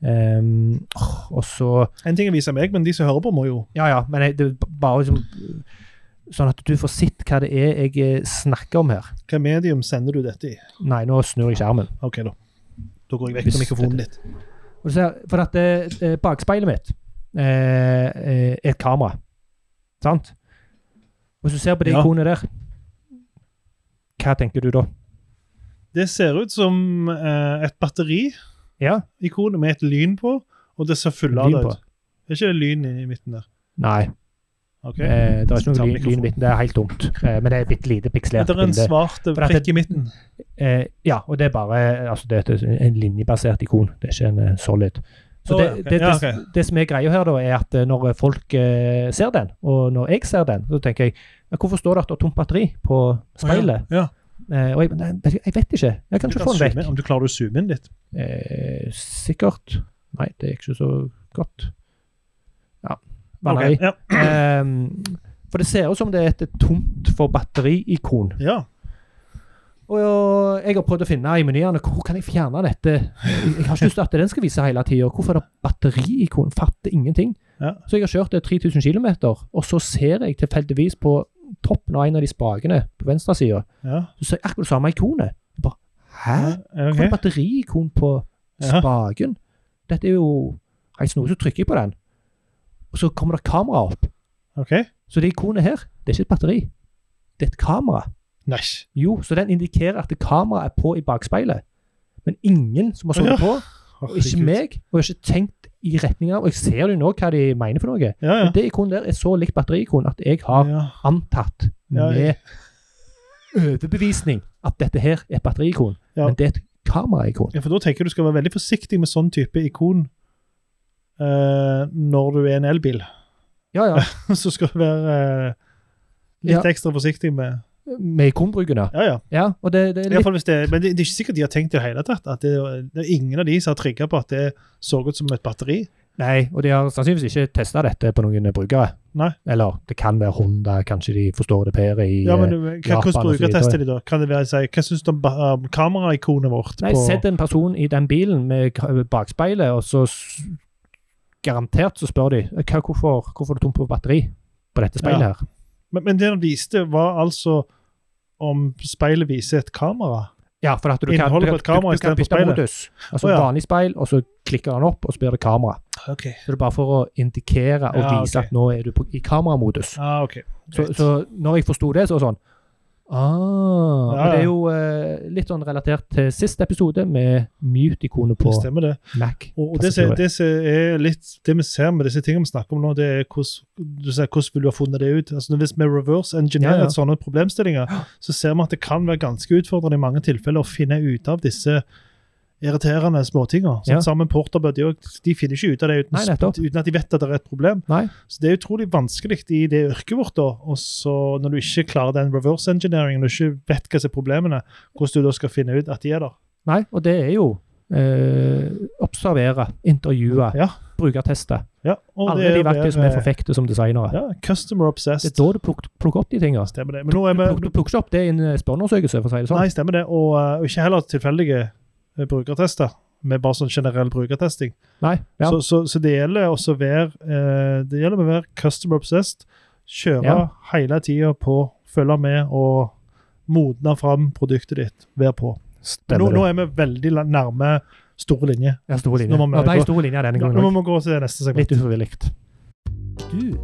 [SPEAKER 2] Ehm, åh, og så
[SPEAKER 1] En ting er å vise meg, men de som hører på, må jo
[SPEAKER 2] Ja, ja, men jeg, det er bare liksom Sånn at du får sett hva det er jeg eh, snakker om her.
[SPEAKER 1] Hva medium sender du dette i?
[SPEAKER 2] Nei, nå snur jeg skjermen.
[SPEAKER 1] OK, da. Da går jeg vekk
[SPEAKER 2] Hvis
[SPEAKER 1] fra mikrofonen
[SPEAKER 2] dette-
[SPEAKER 1] ditt.
[SPEAKER 2] Og du ser, for at eh, eh, bakspeilet mitt eh, eh, er et kamera. Sant? Og Hvis du ser på det
[SPEAKER 1] Ja.
[SPEAKER 2] ikonet der, hva tenker du da?
[SPEAKER 1] Det ser ut som eh, et batteri.
[SPEAKER 2] Ja?
[SPEAKER 1] ikonet med et lyn på, og det ser fullada
[SPEAKER 2] Lyn på?
[SPEAKER 1] ut. Er ikke det lyn i i midten der?
[SPEAKER 2] Nei.
[SPEAKER 1] Ok.
[SPEAKER 2] Eh, det er ikke
[SPEAKER 1] Ta
[SPEAKER 2] noe ly-
[SPEAKER 1] mikrofonen.
[SPEAKER 2] lyn i midten. Det er helt tomt. Eh, men det er et bitte lite
[SPEAKER 1] Er
[SPEAKER 2] pikselert
[SPEAKER 1] det en
[SPEAKER 2] bilde.
[SPEAKER 1] svart
[SPEAKER 2] at
[SPEAKER 1] prikk i midten?
[SPEAKER 2] Eh, ja, og det er bare altså det er et, en linjebasert ikon. Det er ikke en eh, solid. Så
[SPEAKER 1] Å,
[SPEAKER 2] det,
[SPEAKER 1] ja, ok.
[SPEAKER 2] det, det,
[SPEAKER 1] Ja, ok.
[SPEAKER 2] det som er greia her, da, er at eh, når folk eh, ser den, og når jeg ser den, så tenker jeg ja, Hvorfor står det at det er tomt batteri på speilet?
[SPEAKER 1] Ja.
[SPEAKER 2] Eh, og jeg, nei, vet ikke- jeg vet ikke. Jeg kan
[SPEAKER 1] Du
[SPEAKER 2] ikke
[SPEAKER 1] kan
[SPEAKER 2] få den
[SPEAKER 1] zoome,
[SPEAKER 2] vekk.
[SPEAKER 1] om du klarer å zoome inn litt.
[SPEAKER 2] Eh, sikkert. Nei, det gikk ikke så godt. Ja.
[SPEAKER 1] Ok,
[SPEAKER 2] Vanari.
[SPEAKER 1] Ja.
[SPEAKER 2] for det ser ut som det er et tomt for batteriikon.
[SPEAKER 1] ja.
[SPEAKER 2] Og jeg har prøvd å finne i menyene hvor kan jeg fjerne dette. Jeg har ikke lyst til at den skal vise hele tida. Hvorfor er det batteriikon? Fatter ingenting.
[SPEAKER 1] Ja.
[SPEAKER 2] Så jeg har kjørt eh, det 3000 km, og så ser jeg tilfeldigvis på toppen av en av de spakene på venstresida,
[SPEAKER 1] ja.
[SPEAKER 2] så ser jeg akkurat det samme ikonet. Jeg bare, Hæ?
[SPEAKER 1] Ja,
[SPEAKER 2] Hvorfor er det
[SPEAKER 1] ok.
[SPEAKER 2] batteriikon på
[SPEAKER 1] Ja.
[SPEAKER 2] spaken? Dette er jo helt snodig. Så trykker jeg på den, og så kommer det kamera opp.
[SPEAKER 1] ok.
[SPEAKER 2] Så det ikonet her, det er ikke et batteri. Det er et kamera.
[SPEAKER 1] Nice.
[SPEAKER 2] Jo, så den indikerer at kameraet er på i bakspeilet. Men ingen som har
[SPEAKER 1] Ja.
[SPEAKER 2] sittet på, og ikke
[SPEAKER 1] Herregud.
[SPEAKER 2] meg, og jeg har ikke tenkt i retning av Og jeg ser jo nå hva de mener for noe.
[SPEAKER 1] Ja, ja.
[SPEAKER 2] Men det ikonet der er så likt batteriikonet at jeg har
[SPEAKER 1] ja.
[SPEAKER 2] antatt
[SPEAKER 1] Ja, jeg-
[SPEAKER 2] med overbevisning at dette her er et batteriikon,
[SPEAKER 1] Ja.
[SPEAKER 2] men det er et kameraikon.
[SPEAKER 1] Ja, for da tenker jeg du skal være veldig forsiktig med sånn type ikon eh, når du er en elbil.
[SPEAKER 2] Ja, ja.
[SPEAKER 1] Så skal du være eh, litt
[SPEAKER 2] Ja.
[SPEAKER 1] ekstra forsiktig med
[SPEAKER 2] Med ikonbruken, ja.
[SPEAKER 1] Ja, ja.
[SPEAKER 2] ja. Og det,
[SPEAKER 1] I
[SPEAKER 2] det er
[SPEAKER 1] hvert
[SPEAKER 2] litt
[SPEAKER 1] fall hvis det, men det, det er ikke sikkert de har tenkt i det hele tatt. At det, det er ingen av de som har trigga på at det så ut som et batteri.
[SPEAKER 2] Nei, og de har sannsynligvis ikke testa dette på noen brukere.
[SPEAKER 1] Nei.
[SPEAKER 2] Eller det kan være Honda, kanskje de forstår det per i
[SPEAKER 1] Ja, men
[SPEAKER 2] eh,
[SPEAKER 1] hva,
[SPEAKER 2] Japan og så
[SPEAKER 1] Hvordan brukertester de,
[SPEAKER 2] videre.
[SPEAKER 1] da? Kan det være, si, hva syns du om ba- om kameraikonet vårt?
[SPEAKER 2] Nei,
[SPEAKER 1] på,
[SPEAKER 2] sett en person i den bilen med k- eh, bakspeilet, og så s- garantert så spør de "Eh, hva, hvorfor, hvorfor er det tomt for batteri på dette speilet her.
[SPEAKER 1] men, men det han viste, var altså om speilet viser et kamera.
[SPEAKER 2] Ja, for at du kan,
[SPEAKER 1] Innholdet
[SPEAKER 2] du,
[SPEAKER 1] på et kamera
[SPEAKER 2] du, du kan
[SPEAKER 1] istedenfor
[SPEAKER 2] bytte
[SPEAKER 1] speilet.
[SPEAKER 2] modus. Altså
[SPEAKER 1] Å, ja.
[SPEAKER 2] vanlig speil, og så klikker han opp, og så blir det kamera.
[SPEAKER 1] Ok.
[SPEAKER 2] Så det er bare for å indikere og
[SPEAKER 1] Ja,
[SPEAKER 2] vise
[SPEAKER 1] ok.
[SPEAKER 2] at nå er du på, i kameramodus.
[SPEAKER 1] Ah, ok.
[SPEAKER 2] Så,
[SPEAKER 1] Greit.
[SPEAKER 2] så når jeg forsto det, så var det sånn Ah,
[SPEAKER 1] Ja,
[SPEAKER 2] og Det
[SPEAKER 1] ja.
[SPEAKER 2] er jo eh, litt sånn relatert til siste episode med mute-ikonet på
[SPEAKER 1] det stemmer, det.
[SPEAKER 2] Mac.
[SPEAKER 1] Og, og det, som- det, som er litt, det vi ser med disse tingene vi snakker om nå, det er hvordan du sier, hvordan vil du ha funnet det ut. Altså, hvis vi reverse engineerer
[SPEAKER 2] Ja, ja.
[SPEAKER 1] sånne problemstillinger, så ser vi at det kan være ganske utfordrende i mange tilfeller å finne ut av disse irriterende småtinger. Sånn
[SPEAKER 2] Ja.
[SPEAKER 1] Sammen porterbød, de, også- de finner ikke ut av det uten,
[SPEAKER 2] Nei, nettopp.
[SPEAKER 1] uten at de vet at det er et problem.
[SPEAKER 2] Nei.
[SPEAKER 1] Så det er utrolig vanskelig i det yrket vårt, da. Og så når du ikke klarer den reverse engineeringen, og ikke vet hva som er problemene, hvordan du da skal finne ut at de er der.
[SPEAKER 2] Nei, og det er jo eh, observere, intervjue,
[SPEAKER 1] Ja.
[SPEAKER 2] brukerteste.
[SPEAKER 1] Ja, og
[SPEAKER 2] Alle
[SPEAKER 1] det
[SPEAKER 2] de
[SPEAKER 1] å
[SPEAKER 2] verktøy som vi
[SPEAKER 1] være-
[SPEAKER 2] forfekter som designere.
[SPEAKER 1] Ja, customer
[SPEAKER 2] Det er
[SPEAKER 1] obsessed.
[SPEAKER 2] da du plukker, plukker opp de tingene.
[SPEAKER 1] Stemmer det. Men nå er
[SPEAKER 2] Du plukker,
[SPEAKER 1] vi
[SPEAKER 2] du plukker ikke opp det i en eh, spørreundersøkelse, for å si det sånn.
[SPEAKER 1] Nei, stemmer det. Og eh, ikke heller tilfeldige eh, brukertester, med bare sånn generell brukertesting.
[SPEAKER 2] Nei, ja.
[SPEAKER 1] Så, så, så det gjelder også å være eh, Det gjelder å være customer obsessed. Kjøre
[SPEAKER 2] Ja.
[SPEAKER 1] hele tida på, følge med og modne fram produktet ditt. Være på. Men Nå,
[SPEAKER 2] Stemmer
[SPEAKER 1] nå
[SPEAKER 2] det.
[SPEAKER 1] er vi veldig la- nærme store linjer.
[SPEAKER 2] Ja, store linjer.
[SPEAKER 1] nå må vi
[SPEAKER 2] Ja, det
[SPEAKER 1] gå-
[SPEAKER 2] er store linjer denne
[SPEAKER 1] Nå
[SPEAKER 2] gangen.
[SPEAKER 1] må vi gå til neste segment.
[SPEAKER 2] Litt ufrivillig. Du,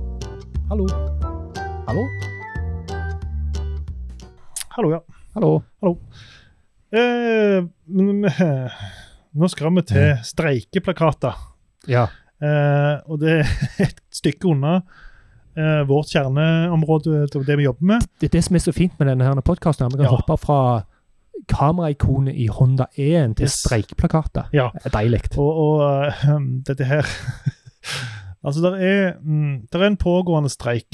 [SPEAKER 2] hallo. Hallo?
[SPEAKER 1] Hallo, ja.
[SPEAKER 2] Hallo.
[SPEAKER 1] Eh, men, eh, nå skal vi til streikeplakater.
[SPEAKER 2] Ja.
[SPEAKER 1] Eh, og det er et stykke unna eh, vårt kjerneområde, det vi jobber med.
[SPEAKER 2] Det er det som er så fint med denne podkasten. Vi kan
[SPEAKER 1] Ja.
[SPEAKER 2] hoppe fra kameraikonet i Honda E-en til
[SPEAKER 1] Yes.
[SPEAKER 2] streikplakater.
[SPEAKER 1] Ja.
[SPEAKER 2] Det er Deilig.
[SPEAKER 1] Og, og eh, dette her Altså, der er, mm, der er en pågående streik.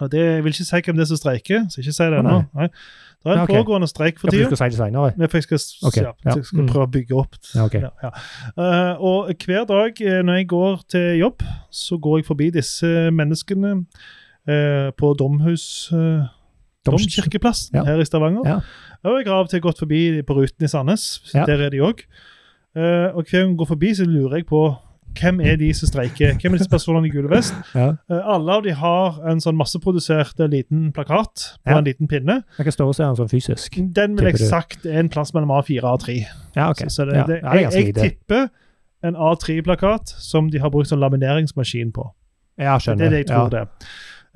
[SPEAKER 1] Og det, Jeg vil ikke si hvem det er som streiker, så ikke si det
[SPEAKER 2] Å,
[SPEAKER 1] ennå.
[SPEAKER 2] nei.
[SPEAKER 1] Nei. Det er en
[SPEAKER 2] Ja, ok.
[SPEAKER 1] pågående streik for
[SPEAKER 2] Ja, for
[SPEAKER 1] tida.
[SPEAKER 2] du skal si det senere?
[SPEAKER 1] Nei, for jeg skal, s-
[SPEAKER 2] Ok,
[SPEAKER 1] ja,
[SPEAKER 2] ja.
[SPEAKER 1] jeg skal
[SPEAKER 2] Mm.
[SPEAKER 1] prøve å bygge opp.
[SPEAKER 2] Ja, ok.
[SPEAKER 1] Ja, ja. Eh, og hver dag eh, når jeg går til jobb, så går jeg forbi disse menneskene eh, på Domhus eh, Domkirkeplass
[SPEAKER 2] Ja.
[SPEAKER 1] her i Stavanger.
[SPEAKER 2] Ja.
[SPEAKER 1] Og jeg har av og til gått forbi på ruten i Sandnes.
[SPEAKER 2] Ja.
[SPEAKER 1] Der er de òg. og hver gang jeg går forbi, så lurer jeg på hvem er de som streiker? Hvem er disse personene i gule vest?
[SPEAKER 2] Ja.
[SPEAKER 1] Eh, alle av de har en sånn masseprodusert eh, liten plakat på
[SPEAKER 2] Ja.
[SPEAKER 1] en liten pinne.
[SPEAKER 2] Jeg kan størrelse er han sånn fysisk.
[SPEAKER 1] Den vil jeg
[SPEAKER 2] Tipper du.
[SPEAKER 1] sagt er en plass mellom A4 og A3.
[SPEAKER 2] Ja, ok.
[SPEAKER 1] Så, så det,
[SPEAKER 2] ja.
[SPEAKER 1] det,
[SPEAKER 2] ja, det er ganske
[SPEAKER 1] jeg, jeg
[SPEAKER 2] lite.
[SPEAKER 1] tipper en A3-plakat som de har brukt som lamineringsmaskin på.
[SPEAKER 2] Ja, skjønner.
[SPEAKER 1] Det er det jeg tror
[SPEAKER 2] ja.
[SPEAKER 1] det er.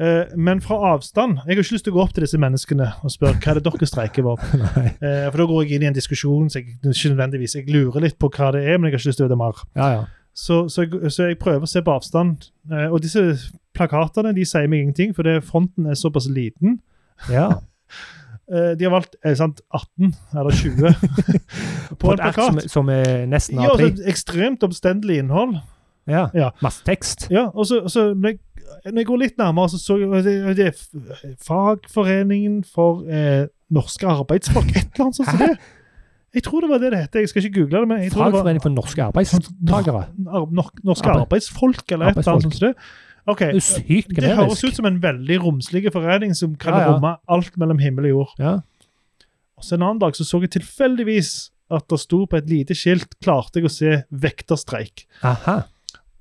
[SPEAKER 1] Eh, men fra avstand Jeg har ikke lyst til å gå opp til disse menneskene og spørre hva er det dere streiker for.
[SPEAKER 2] Nei.
[SPEAKER 1] Eh, for da går jeg inn i en diskusjon så jeg ikke nødvendigvis Jeg lurer litt på hva det er, men jeg har ikke lyst til å vite mer.
[SPEAKER 2] Ja, ja.
[SPEAKER 1] Så, så, jeg, så jeg prøver å se på avstand. Eh, og disse plakatene de sier meg ingenting, for det, fronten er såpass liten.
[SPEAKER 2] ja.
[SPEAKER 1] Eh, de har valgt eh, sant, 18 eller 20 på
[SPEAKER 2] På
[SPEAKER 1] en
[SPEAKER 2] et ark som,
[SPEAKER 1] plakat.
[SPEAKER 2] som er nesten
[SPEAKER 1] Ja, altså,
[SPEAKER 2] A3.
[SPEAKER 1] et ekstremt omstendelig innhold.
[SPEAKER 2] Ja.
[SPEAKER 1] Ja.
[SPEAKER 2] Masse tekst.
[SPEAKER 1] Ja, og så, så når, jeg, når jeg går litt nærmere, så så jeg det, det er f- Fagforeningen for eh, norske arbeidsfolk, et eller annet sånt som det. Jeg tror det var det det het. Jeg skal ikke google det. men jeg tror det var
[SPEAKER 2] Fagforening for norske arbeidstakere.
[SPEAKER 1] ar nor Norske
[SPEAKER 2] Arbeid-
[SPEAKER 1] arbeidsfolk, eller et eller annet sånt som det. Ok,
[SPEAKER 2] Det er jo sykt
[SPEAKER 1] Det høres ut
[SPEAKER 2] generisk.
[SPEAKER 1] som en veldig romslig forening som kan
[SPEAKER 2] Ja, ja.
[SPEAKER 1] romme alt mellom himmel og jord.
[SPEAKER 2] Ja.
[SPEAKER 1] Og så En annen dag så, så jeg tilfeldigvis at det sto på et lite skilt, klarte jeg å se 'vekterstreik'.
[SPEAKER 2] Aha.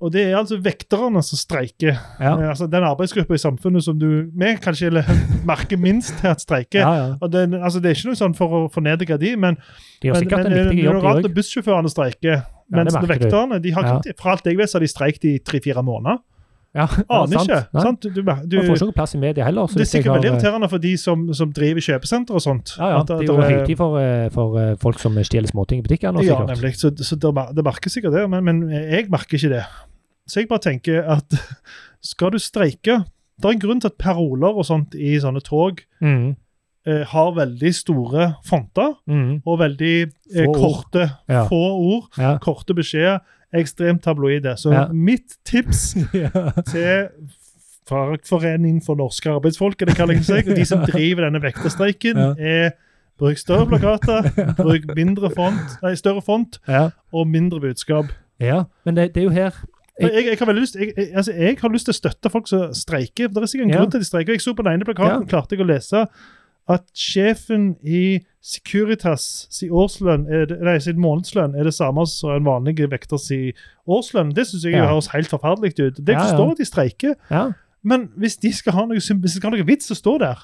[SPEAKER 1] Og det er altså vekterne som streiker.
[SPEAKER 2] Ja.
[SPEAKER 1] Eh, Altså, den arbeidsgruppa i samfunnet som du vi kanskje le- merker minst til at streiker.
[SPEAKER 2] Ja, ja.
[SPEAKER 1] Og den, altså, det er ikke noe sånn for å fornedre de, men,
[SPEAKER 2] De gjør
[SPEAKER 1] men,
[SPEAKER 2] sikkert
[SPEAKER 1] men eh,
[SPEAKER 2] en
[SPEAKER 1] det
[SPEAKER 2] viktig
[SPEAKER 1] er
[SPEAKER 2] jobb,
[SPEAKER 1] jo
[SPEAKER 2] de
[SPEAKER 1] rart
[SPEAKER 2] òg.
[SPEAKER 1] at bussjåførene streiker. mens
[SPEAKER 2] merker du.
[SPEAKER 1] vekterne de har,
[SPEAKER 2] Ja.
[SPEAKER 1] ikke- Fra alt jeg vet, så har de streikt i tre-fire måneder.
[SPEAKER 2] Ja, det er
[SPEAKER 1] Aner ikke.
[SPEAKER 2] Nei.
[SPEAKER 1] sant? Du, du, du,
[SPEAKER 2] Man får ikke noe plass i media heller.
[SPEAKER 1] det
[SPEAKER 2] så
[SPEAKER 1] er
[SPEAKER 2] hvis jeg
[SPEAKER 1] sikkert
[SPEAKER 2] har,
[SPEAKER 1] veldig
[SPEAKER 2] eh,
[SPEAKER 1] irriterende for de som, som driver kjøpesenter og sånt.
[SPEAKER 2] Ja, ja.
[SPEAKER 1] At- at
[SPEAKER 2] Det er jo
[SPEAKER 1] det er-
[SPEAKER 2] viktig for, eh, for eh, folk som stjeler småting i butikkene. og
[SPEAKER 1] Ja,
[SPEAKER 2] sikkert.
[SPEAKER 1] nemlig. Så, så det, mer- det merker sikkert det, men, men jeg merker ikke det. Så jeg bare tenker at skal du streike Det er en grunn til at paroler og sånt i sånne tog
[SPEAKER 2] Mm,
[SPEAKER 1] eh, har veldig store fonter
[SPEAKER 2] mm,
[SPEAKER 1] og veldig eh,
[SPEAKER 2] Få ord.
[SPEAKER 1] korte,
[SPEAKER 2] Ja.
[SPEAKER 1] få ord,
[SPEAKER 2] ja.
[SPEAKER 1] korte beskjeder. Ekstremt tabloide. Så
[SPEAKER 2] Ja.
[SPEAKER 1] mitt tips til Fagforeningen for norske arbeidsfolk, eller hva det kalles seg, og de som driver denne vekterstreiken,
[SPEAKER 2] Ja.
[SPEAKER 1] er bruk større plakater, bruk mindre font, nei, større font
[SPEAKER 2] ja.
[SPEAKER 1] og mindre budskap.
[SPEAKER 2] ja. Men det, det er jo her
[SPEAKER 1] Jeg, jeg, jeg, har veldig lyst, jeg, jeg, altså, jeg har lyst til å støtte folk som streiker. for Det er sikkert en
[SPEAKER 2] Ja.
[SPEAKER 1] grunn til at de streiker. Jeg så på den ene plakaten, klarte jeg å lese at sjefen i Securitas si årslønn, er det, nei, sin månedslønn er det samme som en vanlig vekter si årslønn. Det syns jeg
[SPEAKER 2] Ja.
[SPEAKER 1] høres helt forferdelig ut. Det jeg
[SPEAKER 2] Ja, ja.
[SPEAKER 1] forstår at de streiker,
[SPEAKER 2] Ja.
[SPEAKER 1] men hvis de skal ha noe, sym- hvis de skal ha noe vits, så står der.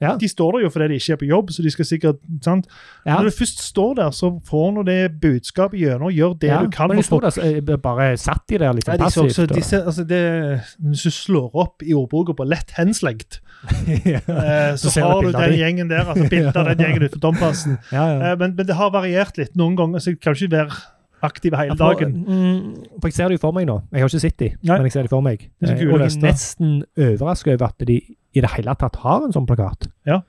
[SPEAKER 2] Ja.
[SPEAKER 1] De står der jo fordi de ikke er på jobb, så de skal sikkert sant?
[SPEAKER 2] ja.
[SPEAKER 1] Når du først står der, så får nå det budskapet gjennom. Gjør det
[SPEAKER 2] ja.
[SPEAKER 1] du kan.
[SPEAKER 2] Men de
[SPEAKER 1] for
[SPEAKER 2] sto der, så, eh, bare satt de der liksom
[SPEAKER 1] Nei, de så
[SPEAKER 2] passivt.
[SPEAKER 1] også,
[SPEAKER 2] og-
[SPEAKER 1] de ser, altså det, hvis du slår opp i ordboka på 'lett henslengt',
[SPEAKER 2] ja,
[SPEAKER 1] eh, så,
[SPEAKER 2] Så ser
[SPEAKER 1] har du
[SPEAKER 2] du bilder av
[SPEAKER 1] den
[SPEAKER 2] de.
[SPEAKER 1] gjengen der. altså Bilder av den gjengen utenfor Domplassen.
[SPEAKER 2] ja.
[SPEAKER 1] Eh, men, men det har variert litt. Noen ganger så kan du ikke være aktiv hele dagen.
[SPEAKER 2] For, mm, for jeg ser det jo for meg nå. Jeg har ikke sett de,
[SPEAKER 1] Nei.
[SPEAKER 2] men jeg ser det for meg.
[SPEAKER 1] er så
[SPEAKER 2] Eh,
[SPEAKER 1] kule
[SPEAKER 2] Og jeg
[SPEAKER 1] vester.
[SPEAKER 2] er nesten overrasket over at de i det hele tatt har en sånn plakat.
[SPEAKER 1] Ja.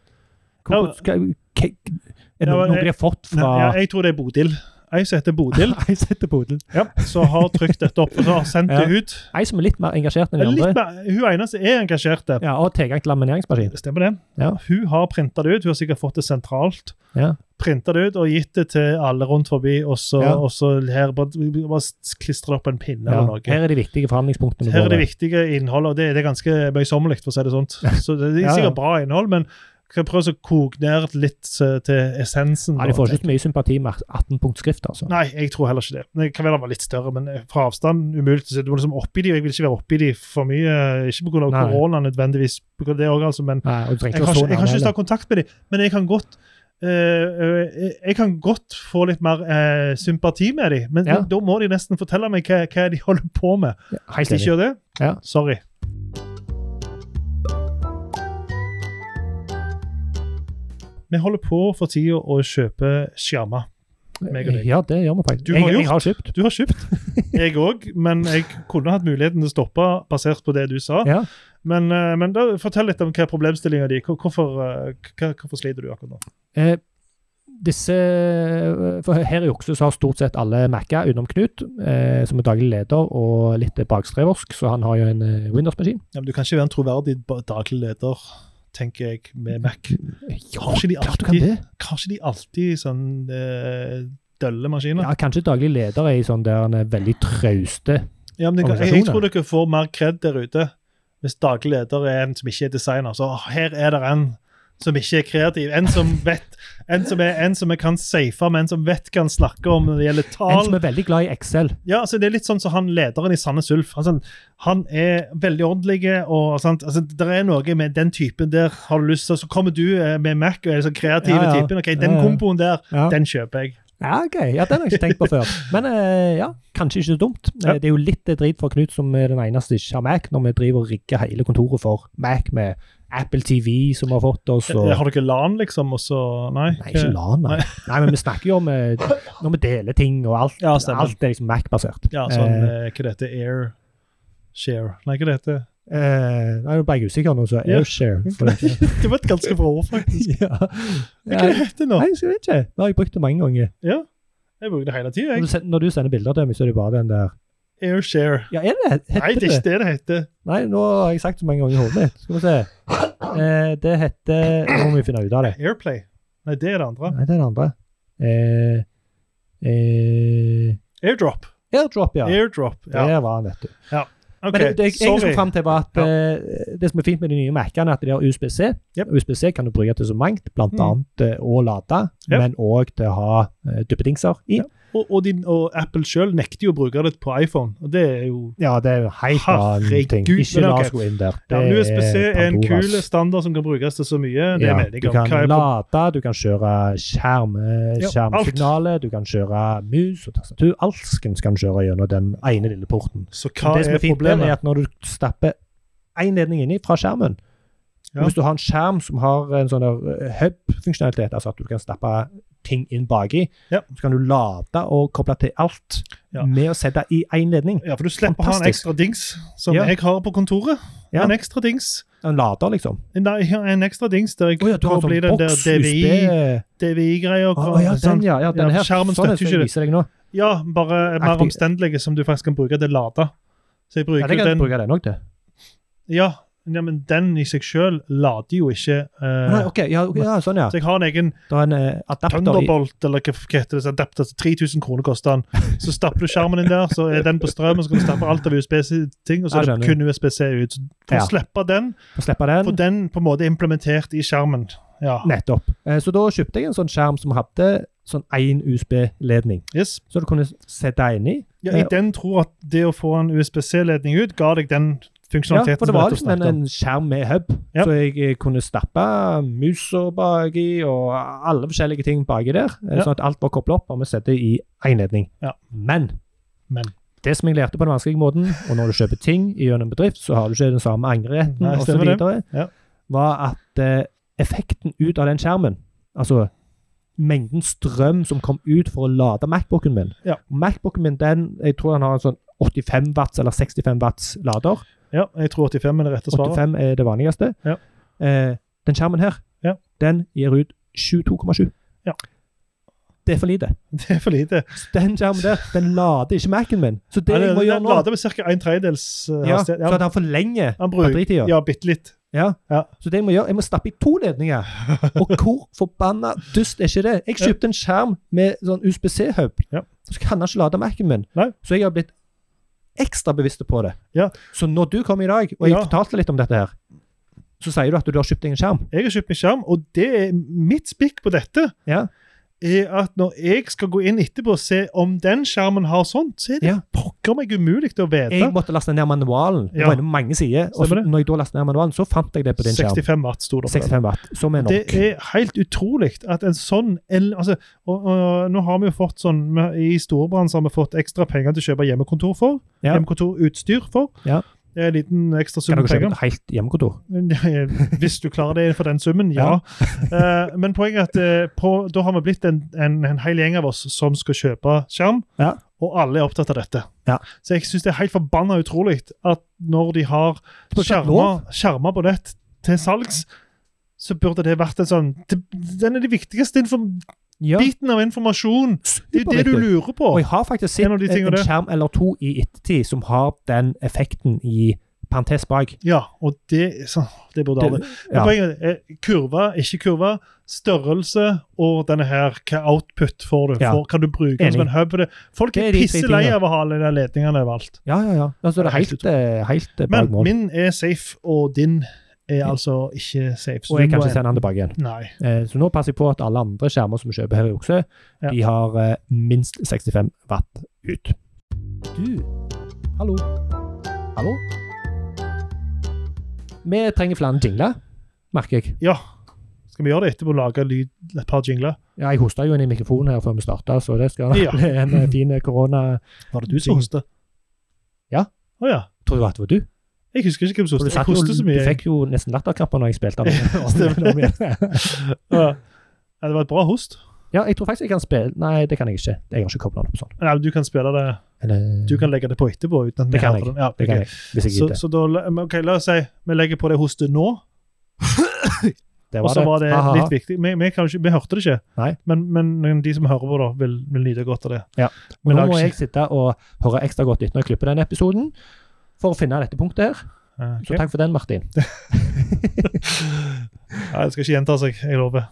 [SPEAKER 2] Hvor,
[SPEAKER 1] Ja,
[SPEAKER 2] skal, k- er det
[SPEAKER 1] Ja,
[SPEAKER 2] noe
[SPEAKER 1] men jeg-
[SPEAKER 2] de har fått fra
[SPEAKER 1] Ja, jeg tror det er Bodil. ei som heter Bodil,
[SPEAKER 2] Ei som heter Bodil.
[SPEAKER 1] ja, som har trykt dette opp og så har sendt det ut.
[SPEAKER 2] Ei som er litt mer engasjert enn de
[SPEAKER 1] Litt
[SPEAKER 2] andre.
[SPEAKER 1] mer, hun eneste er engasjert der.
[SPEAKER 2] Ja, Og har tilgang til lamineringsmaskin.
[SPEAKER 1] Stemmer det?
[SPEAKER 2] Ja.
[SPEAKER 1] Hun har printa det ut. Hun har sikkert fått det sentralt.
[SPEAKER 2] Ja.
[SPEAKER 1] Printa det ut og gitt det til alle rundt forbi, og så,
[SPEAKER 2] Ja.
[SPEAKER 1] og så her bare, bare klistra det opp på en pinne
[SPEAKER 2] Ja.
[SPEAKER 1] eller noe.
[SPEAKER 2] Her er de viktige forhandlingspunktene.
[SPEAKER 1] Her er det
[SPEAKER 2] våre.
[SPEAKER 1] viktige innholdet, og det, det er ganske møysommelig, for å si det sånt. Så det er
[SPEAKER 2] Ja, ja.
[SPEAKER 1] sikkert bra innhold, men kan jeg prøve å koke ned litt eh, til essensen.
[SPEAKER 2] Ja, de
[SPEAKER 1] da.
[SPEAKER 2] får ikke så mye sympati med 18-punktskrift, altså.
[SPEAKER 1] Nei, jeg tror heller ikke det. Det kan vel være litt større, men fra avstand umulig. Så du må liksom oppi de, og jeg vil ikke være oppi de for mye. Ikke pga.
[SPEAKER 2] Nei.
[SPEAKER 1] korona nødvendigvis, på grunn av det også, altså, men
[SPEAKER 2] Nei, og du
[SPEAKER 1] jeg
[SPEAKER 2] trenger ikke
[SPEAKER 1] har,
[SPEAKER 2] å så
[SPEAKER 1] ikke- jeg har
[SPEAKER 2] nærme
[SPEAKER 1] ikke lyst til å
[SPEAKER 2] heller.
[SPEAKER 1] ha kontakt med dem, men jeg kan godt eh, eh, jeg kan godt få litt mer eh, sympati med dem, men
[SPEAKER 2] Ja.
[SPEAKER 1] da må de nesten fortelle meg hva, hva de holder på med. Hvis
[SPEAKER 2] Helt
[SPEAKER 1] de
[SPEAKER 2] enig.
[SPEAKER 1] ikke gjør det,
[SPEAKER 2] Ja.
[SPEAKER 1] sorry. Vi holder på for tida å kjøpe skjermer. meg og deg.
[SPEAKER 2] Ja, det gjør vi faktisk.
[SPEAKER 1] Du
[SPEAKER 2] jeg,
[SPEAKER 1] har
[SPEAKER 2] jeg har kjøpt.
[SPEAKER 1] Du har kjøpt, jeg òg, men jeg kunne hatt muligheten til å stoppe basert på det du sa.
[SPEAKER 2] Ja.
[SPEAKER 1] Men, eh, men da, fortell litt om hva er problemstillinga di. Hvor- Hvorfor, eh, hva- hvorfor sliter du akkurat nå?
[SPEAKER 2] Eh, disse For her i Okse så har stort sett alle Mac-er utenom Knut, eh, som er daglig leder og litt bakstreversk, så han har jo en eh, Windows-maskin.
[SPEAKER 1] Ja, men du kan ikke være en troverdig ba- daglig leder, tenker jeg,
[SPEAKER 2] Mm.
[SPEAKER 1] med Mac.
[SPEAKER 2] Ja,
[SPEAKER 1] Kanskje de
[SPEAKER 2] klart du kan
[SPEAKER 1] alltid-
[SPEAKER 2] det!
[SPEAKER 1] Kanskje de alltid sånn eh, dølle maskiner?
[SPEAKER 2] Ja, Kanskje daglig leder er i sånn der en er veldig trauste
[SPEAKER 1] Ja, men jeg, jeg, jeg
[SPEAKER 2] organisasjoner.
[SPEAKER 1] tror dere får mer kred der ute hvis daglig leder er en som ikke er designer. Så «Åh, her er det en som ikke er kreativ. En som vet, en som, er, en som jeg kan safe med, en som vet hva han snakker om når det gjelder
[SPEAKER 2] En
[SPEAKER 1] tall.
[SPEAKER 2] som er veldig glad i Excel.
[SPEAKER 1] Ja, altså Det er litt sånn som han lederen i Sandnes Ulf. Altså, han er veldig ordentlig. og sant? Altså, Det er noe med den typen der. har du lyst til, Så kommer du eh, med Mac og er så kreativ
[SPEAKER 2] Ja, ja.
[SPEAKER 1] typen. ok,
[SPEAKER 2] Ja,
[SPEAKER 1] Den
[SPEAKER 2] ja.
[SPEAKER 1] komboen der,
[SPEAKER 2] Ja.
[SPEAKER 1] den kjøper jeg.
[SPEAKER 2] Ja, ok. Ja, Den har jeg ikke tenkt på før. Men eh, ja, kanskje ikke så dumt.
[SPEAKER 1] Ja.
[SPEAKER 2] Eh, Det er jo litt eh, drit for Knut, som er den eneste som ikke har Mac, når vi driver og rigger hele kontoret for Mac med Apple TV, som vi har fått oss, og
[SPEAKER 1] Eh, Har dere LAN, liksom? Og så Nei.
[SPEAKER 2] Nei, ikke LAN. Nei. nei, men vi snakker jo om eh, når vi deler ting, og alt,
[SPEAKER 1] Ja, stemmer.
[SPEAKER 2] alt er liksom Mac-basert.
[SPEAKER 1] Ja, sånn
[SPEAKER 2] Eh,
[SPEAKER 1] eh, Hva det heter Air Share Nei, hva det heter
[SPEAKER 2] eh, Nei, nå ble jeg usikker nå, så
[SPEAKER 1] Ja.
[SPEAKER 2] Airshare. for det-
[SPEAKER 1] Det var et ganske bra ord, faktisk.
[SPEAKER 2] ja.
[SPEAKER 1] Hva
[SPEAKER 2] Nei,
[SPEAKER 1] det heter det nå?
[SPEAKER 2] jeg vet ikke. Det har jeg brukt det mange ganger.
[SPEAKER 1] Ja, jeg bruker det hele tida,
[SPEAKER 2] Når du,
[SPEAKER 1] jeg.
[SPEAKER 2] send- når du sender bilder til meg, så er det bare den der
[SPEAKER 1] Air Share.
[SPEAKER 2] Ja, er det Altså- heter
[SPEAKER 1] Nei, det er ikke det det heter.
[SPEAKER 2] Nei, nå har jeg sagt så mange ganger i hodet mitt. Skal vi se. Eh, det heter Nå må vi finne ut av det.
[SPEAKER 1] Airplay. Nei, det er det andre.
[SPEAKER 2] Nei, det er det andre. Eh, eh,
[SPEAKER 1] Airdrop.
[SPEAKER 2] airdrop, ja.
[SPEAKER 1] Airdrop. Ja,
[SPEAKER 2] Der var den, vet du.
[SPEAKER 1] OK,
[SPEAKER 2] Men det, det jeg skulle
[SPEAKER 1] sorry.
[SPEAKER 2] fram til, var at
[SPEAKER 1] Ja.
[SPEAKER 2] eh, det som er fint med de nye Mac-ene, er at de har USB-C.
[SPEAKER 1] Jep.
[SPEAKER 2] USB-C kan du bruke til så mangt, blant
[SPEAKER 1] Mm.
[SPEAKER 2] annet eh, å lade,
[SPEAKER 1] Jep.
[SPEAKER 2] men òg til å ha eh, duppedingser i.
[SPEAKER 1] Ja. Og, og, din, og Apple sjøl nekter jo å bruke det på iPhone, og det er jo
[SPEAKER 2] Ja, det er jo helt annen ting.
[SPEAKER 1] Herregud,
[SPEAKER 2] Ikke
[SPEAKER 1] men
[SPEAKER 2] la
[SPEAKER 1] ok.
[SPEAKER 2] oss gå inn der.
[SPEAKER 1] ja,
[SPEAKER 2] Det
[SPEAKER 1] USB-C er en
[SPEAKER 2] Pandoras.
[SPEAKER 1] kul standard som kan brukes til så mye. Det
[SPEAKER 2] Ja,
[SPEAKER 1] mener jeg.
[SPEAKER 2] du
[SPEAKER 1] om.
[SPEAKER 2] kan
[SPEAKER 1] Hva er pro-
[SPEAKER 2] lade, du kan kjøre skjerm, eh,
[SPEAKER 1] Ja,
[SPEAKER 2] skjermsignalet, du kan kjøre mus og tastatur. Alskens kan kjøre gjennom den ene lille porten.
[SPEAKER 1] Så hva
[SPEAKER 2] det som
[SPEAKER 1] er
[SPEAKER 2] er fint, med den
[SPEAKER 1] problemet?
[SPEAKER 2] er at når du stapper én ledning inni fra skjermen
[SPEAKER 1] Ja.
[SPEAKER 2] Hvis du har en skjerm som har en sånn der, eh, hub-funksjonalitet, altså at du kan stappe ting inn baki,
[SPEAKER 1] Ja.
[SPEAKER 2] så kan du lade og koble til alt
[SPEAKER 1] Ja.
[SPEAKER 2] med å sette i én ledning.
[SPEAKER 1] Ja, for du slipper å ha en
[SPEAKER 2] Fantastisk.
[SPEAKER 1] ekstra dings, som
[SPEAKER 2] Ja.
[SPEAKER 1] jeg har på kontoret.
[SPEAKER 2] Ja.
[SPEAKER 1] En ekstra dings.
[SPEAKER 2] En lader, liksom.
[SPEAKER 1] Nei, jeg har en ekstra dings der jeg
[SPEAKER 2] Å ja, du har en
[SPEAKER 1] kobler i
[SPEAKER 2] sånn
[SPEAKER 1] den der
[SPEAKER 2] boks, USB
[SPEAKER 1] DVI-greia. DVI
[SPEAKER 2] Å ja, den, ja. ja, den
[SPEAKER 1] Ja,
[SPEAKER 2] her.
[SPEAKER 1] skjermen
[SPEAKER 2] sånn er
[SPEAKER 1] støtter
[SPEAKER 2] det som
[SPEAKER 1] ikke
[SPEAKER 2] jeg
[SPEAKER 1] det.
[SPEAKER 2] viser deg nå.
[SPEAKER 1] ja, bare mer
[SPEAKER 2] Aktiv-
[SPEAKER 1] omstendelige som du faktisk kan bruke til å lade. Så jeg
[SPEAKER 2] Ja,
[SPEAKER 1] bruker
[SPEAKER 2] det kan
[SPEAKER 1] den
[SPEAKER 2] du bruke den òg til.
[SPEAKER 1] ja, ja, men den i seg sjøl lader jo ikke eh,
[SPEAKER 2] Nei, ok, ja, ok, ja, sånn, ja.
[SPEAKER 1] Så jeg har en egen
[SPEAKER 2] Det er en eh, adapter i
[SPEAKER 1] Thunderbolt, eller hva hva heter det, så adapter til 3000 kroner koster den. Så stapper du skjermen din der, så er den på strøm, og så kan du stappe alt av USB-ting, og så er
[SPEAKER 2] Ja,
[SPEAKER 1] det
[SPEAKER 2] skjønner.
[SPEAKER 1] kun USB-C ut. Så for
[SPEAKER 2] Ja.
[SPEAKER 1] å slippe den,
[SPEAKER 2] Få slippe den.
[SPEAKER 1] for den på en måte er implementert i skjermen. Ja.
[SPEAKER 2] Nettopp. Eh, Så da kjøpte jeg en sånn skjerm som hadde sånn én USB-ledning,
[SPEAKER 1] Yes.
[SPEAKER 2] så du kunne sette inn i.
[SPEAKER 1] Ja, jeg den tror at det å få en USB-C-ledning ut ga deg den
[SPEAKER 2] Ja,
[SPEAKER 1] funksjonaliteten.
[SPEAKER 2] for det
[SPEAKER 1] som
[SPEAKER 2] var
[SPEAKER 1] dette
[SPEAKER 2] liksom en,
[SPEAKER 1] snakket om.
[SPEAKER 2] en skjerm med hub,
[SPEAKER 1] Ja.
[SPEAKER 2] så jeg eh, kunne stappe musa baki og alle forskjellige ting baki der, eh,
[SPEAKER 1] Ja.
[SPEAKER 2] sånn at alt var kobla opp, og vi setter i én ledning.
[SPEAKER 1] Ja.
[SPEAKER 2] Men
[SPEAKER 1] Men.
[SPEAKER 2] det som jeg lærte på den vanskelige måten, og når du kjøper ting gjennom en bedrift, så har du ikke den samme angreretten
[SPEAKER 1] Nei,
[SPEAKER 2] osv.,
[SPEAKER 1] stemmer det.
[SPEAKER 2] videre,
[SPEAKER 1] Ja.
[SPEAKER 2] var at eh, effekten ut av den skjermen, altså mengden strøm som kom ut for å lade Macbooken min
[SPEAKER 1] Ja.
[SPEAKER 2] Macbooken min, den, jeg tror den har en sånn 85 watts eller 65 watts lader.
[SPEAKER 1] Ja, jeg tror 85 er det rette svaret.
[SPEAKER 2] 85 er det vanligste.
[SPEAKER 1] Ja.
[SPEAKER 2] Eh, den skjermen her,
[SPEAKER 1] Ja.
[SPEAKER 2] den gir ut 22,7.
[SPEAKER 1] Ja.
[SPEAKER 2] Det er for lite.
[SPEAKER 1] Det er for lite.
[SPEAKER 2] Så den skjermen der, den lader ikke Mac-en min. Så det
[SPEAKER 1] Han
[SPEAKER 2] jeg må gjøre nå
[SPEAKER 1] lader med ca. en tredjedels eh,
[SPEAKER 2] ja, Så
[SPEAKER 1] hastighet. Ja,
[SPEAKER 2] at han forlenger
[SPEAKER 1] han bruker
[SPEAKER 2] batteritida.
[SPEAKER 1] ja, bitte litt.
[SPEAKER 2] Ja.
[SPEAKER 1] Ja.
[SPEAKER 2] Så det jeg må gjøre, jeg må stappe i to ledninger. Og hvor forbanna dust er ikke det? Jeg kjøpte en skjerm med sånn USBC-hub.
[SPEAKER 1] Ja.
[SPEAKER 2] Så kan han ikke lade Mac-en min.
[SPEAKER 1] Nei.
[SPEAKER 2] Så jeg har blitt ekstra bevisst på det.
[SPEAKER 1] Ja.
[SPEAKER 2] Så når du kom i dag, og jeg
[SPEAKER 1] Ja.
[SPEAKER 2] fortalte litt om dette her, så sier du at du har kjøpt deg en skjerm.
[SPEAKER 1] Jeg har kjøpt meg skjerm, og det er mitt spikk på dette
[SPEAKER 2] Ja.
[SPEAKER 1] er at når jeg skal gå inn etterpå og se om den skjermen har sånt, så er det
[SPEAKER 2] Ja.
[SPEAKER 1] pokker meg umulig å vite.
[SPEAKER 2] Jeg måtte laste ned manualen. Det
[SPEAKER 1] Ja.
[SPEAKER 2] var inne på mange sider. Og så,
[SPEAKER 1] Stemmer det.
[SPEAKER 2] når jeg da lastet ned manualen, så fant jeg det på din skjerm.
[SPEAKER 1] 65 watt sto det på den.
[SPEAKER 2] 65 watt, som er
[SPEAKER 1] Det
[SPEAKER 2] nok.
[SPEAKER 1] er helt utrolig at en sånn el- altså, og, og, Nå har vi jo fått sånn vi- I Storebrand så har vi fått ekstra penger til å kjøpe hjemmekontor for.
[SPEAKER 2] Ja.
[SPEAKER 1] Hjemmekontorutstyr for.
[SPEAKER 2] Ja.
[SPEAKER 1] Det er En liten ekstra sum
[SPEAKER 2] Kan dere kjøpe
[SPEAKER 1] penger.
[SPEAKER 2] et helt hjemmekontor?
[SPEAKER 1] Hvis du klarer det innenfor den summen, ja. Eh, men poenget er at eh, på, da har vi blitt en, en, en hel gjeng av oss som skal kjøpe skjerm,
[SPEAKER 2] Ja.
[SPEAKER 1] og alle er opptatt av dette.
[SPEAKER 2] Ja.
[SPEAKER 1] Så jeg syns det er helt forbanna utrolig at når de har
[SPEAKER 2] Det er ikke
[SPEAKER 1] skjermer, skjermer på nett til salgs, så burde det vært en sånn det- Den er den viktigste inform
[SPEAKER 2] Ja.
[SPEAKER 1] biten av informasjon. Det er det du
[SPEAKER 2] Superviktig.
[SPEAKER 1] lurer på.
[SPEAKER 2] Og jeg har faktisk sett
[SPEAKER 1] En av
[SPEAKER 2] en,
[SPEAKER 1] de tingene
[SPEAKER 2] en
[SPEAKER 1] der.
[SPEAKER 2] skjerm eller to i ettertid som har den effekten i parentes bak.
[SPEAKER 1] Ja, og det, så, det burde alle
[SPEAKER 2] Det, ja.
[SPEAKER 1] Men Poenget er eh, kurve, ikke kurve, størrelse og denne her, hva output får du?
[SPEAKER 2] Ja.
[SPEAKER 1] Får- kan du bruke den som
[SPEAKER 2] Enig.
[SPEAKER 1] en hub? for det? Folk
[SPEAKER 2] Det
[SPEAKER 1] er,
[SPEAKER 2] er de tre
[SPEAKER 1] pisse lei
[SPEAKER 2] tingene.
[SPEAKER 1] av å ha alle de ledningene overalt.
[SPEAKER 2] ja, ja, ja. Altså, det er helt, eh, helt eh,
[SPEAKER 1] Men
[SPEAKER 2] bak mål.
[SPEAKER 1] min er safe, og din er altså ikke safe.
[SPEAKER 2] Og jeg kan ikke sende den tilbake igjen.
[SPEAKER 1] Nei.
[SPEAKER 2] Eh, Så nå passer jeg på at alle andre skjermer som vi kjøper her i Okse,
[SPEAKER 1] Ja.
[SPEAKER 2] de har eh, minst 65 watt ut. Du, hallo. Hallo? Vi trenger flere jingler, merker jeg.
[SPEAKER 1] Ja. Skal vi gjøre det etterpå? Lage lyd, et par jingler?
[SPEAKER 2] Ja, jeg hosta jo inn i mikrofonen her før vi starta, så det skal da
[SPEAKER 1] Ja.
[SPEAKER 2] bli en eh, fin eh, korona...
[SPEAKER 1] Var det du som
[SPEAKER 2] Jing-
[SPEAKER 1] hostet?
[SPEAKER 2] Ja.
[SPEAKER 1] Å ja.
[SPEAKER 2] Tror du at det var du?
[SPEAKER 1] Jeg husker ikke hvem som
[SPEAKER 2] For du,
[SPEAKER 1] hostet.
[SPEAKER 2] satt
[SPEAKER 1] Jeg
[SPEAKER 2] jo,
[SPEAKER 1] hostet så mye.
[SPEAKER 2] du fikk jo nesten latterkramper når jeg spilte den. Om igjen, om igjen.
[SPEAKER 1] Ja. Ja, det var et bra host.
[SPEAKER 2] ja, jeg tror faktisk jeg kan spille Nei, det kan jeg ikke. Jeg har ikke kobla den opp sånn.
[SPEAKER 1] Nei, men du kan spille det.
[SPEAKER 2] Eller-
[SPEAKER 1] Du kan legge det på etterpå. uten at vi
[SPEAKER 2] Det kan
[SPEAKER 1] hører den.
[SPEAKER 2] jeg.
[SPEAKER 1] Ja,
[SPEAKER 2] det
[SPEAKER 1] ok.
[SPEAKER 2] kan jeg, hvis jeg
[SPEAKER 1] Så,
[SPEAKER 2] gidder.
[SPEAKER 1] så da, la- men ok, la oss si vi legger på det hostet nå,
[SPEAKER 2] Det
[SPEAKER 1] og så var det
[SPEAKER 2] Ha, ha, ha.
[SPEAKER 1] litt viktig. Vi, vi, kan jo ikke, vi hørte det ikke,
[SPEAKER 2] Nei.
[SPEAKER 1] Men, men de som hører på, da, vil, vil nyte godt av det.
[SPEAKER 2] Men nå
[SPEAKER 1] lag
[SPEAKER 2] må
[SPEAKER 1] ikke-
[SPEAKER 2] jeg sitte og høre ekstra godt etter når jeg klipper denne episoden, for å finne dette punktet her.
[SPEAKER 1] Eh, ok.
[SPEAKER 2] Så takk for den, Martin.
[SPEAKER 1] Nei, det skal ikke gjenta seg, jeg lover.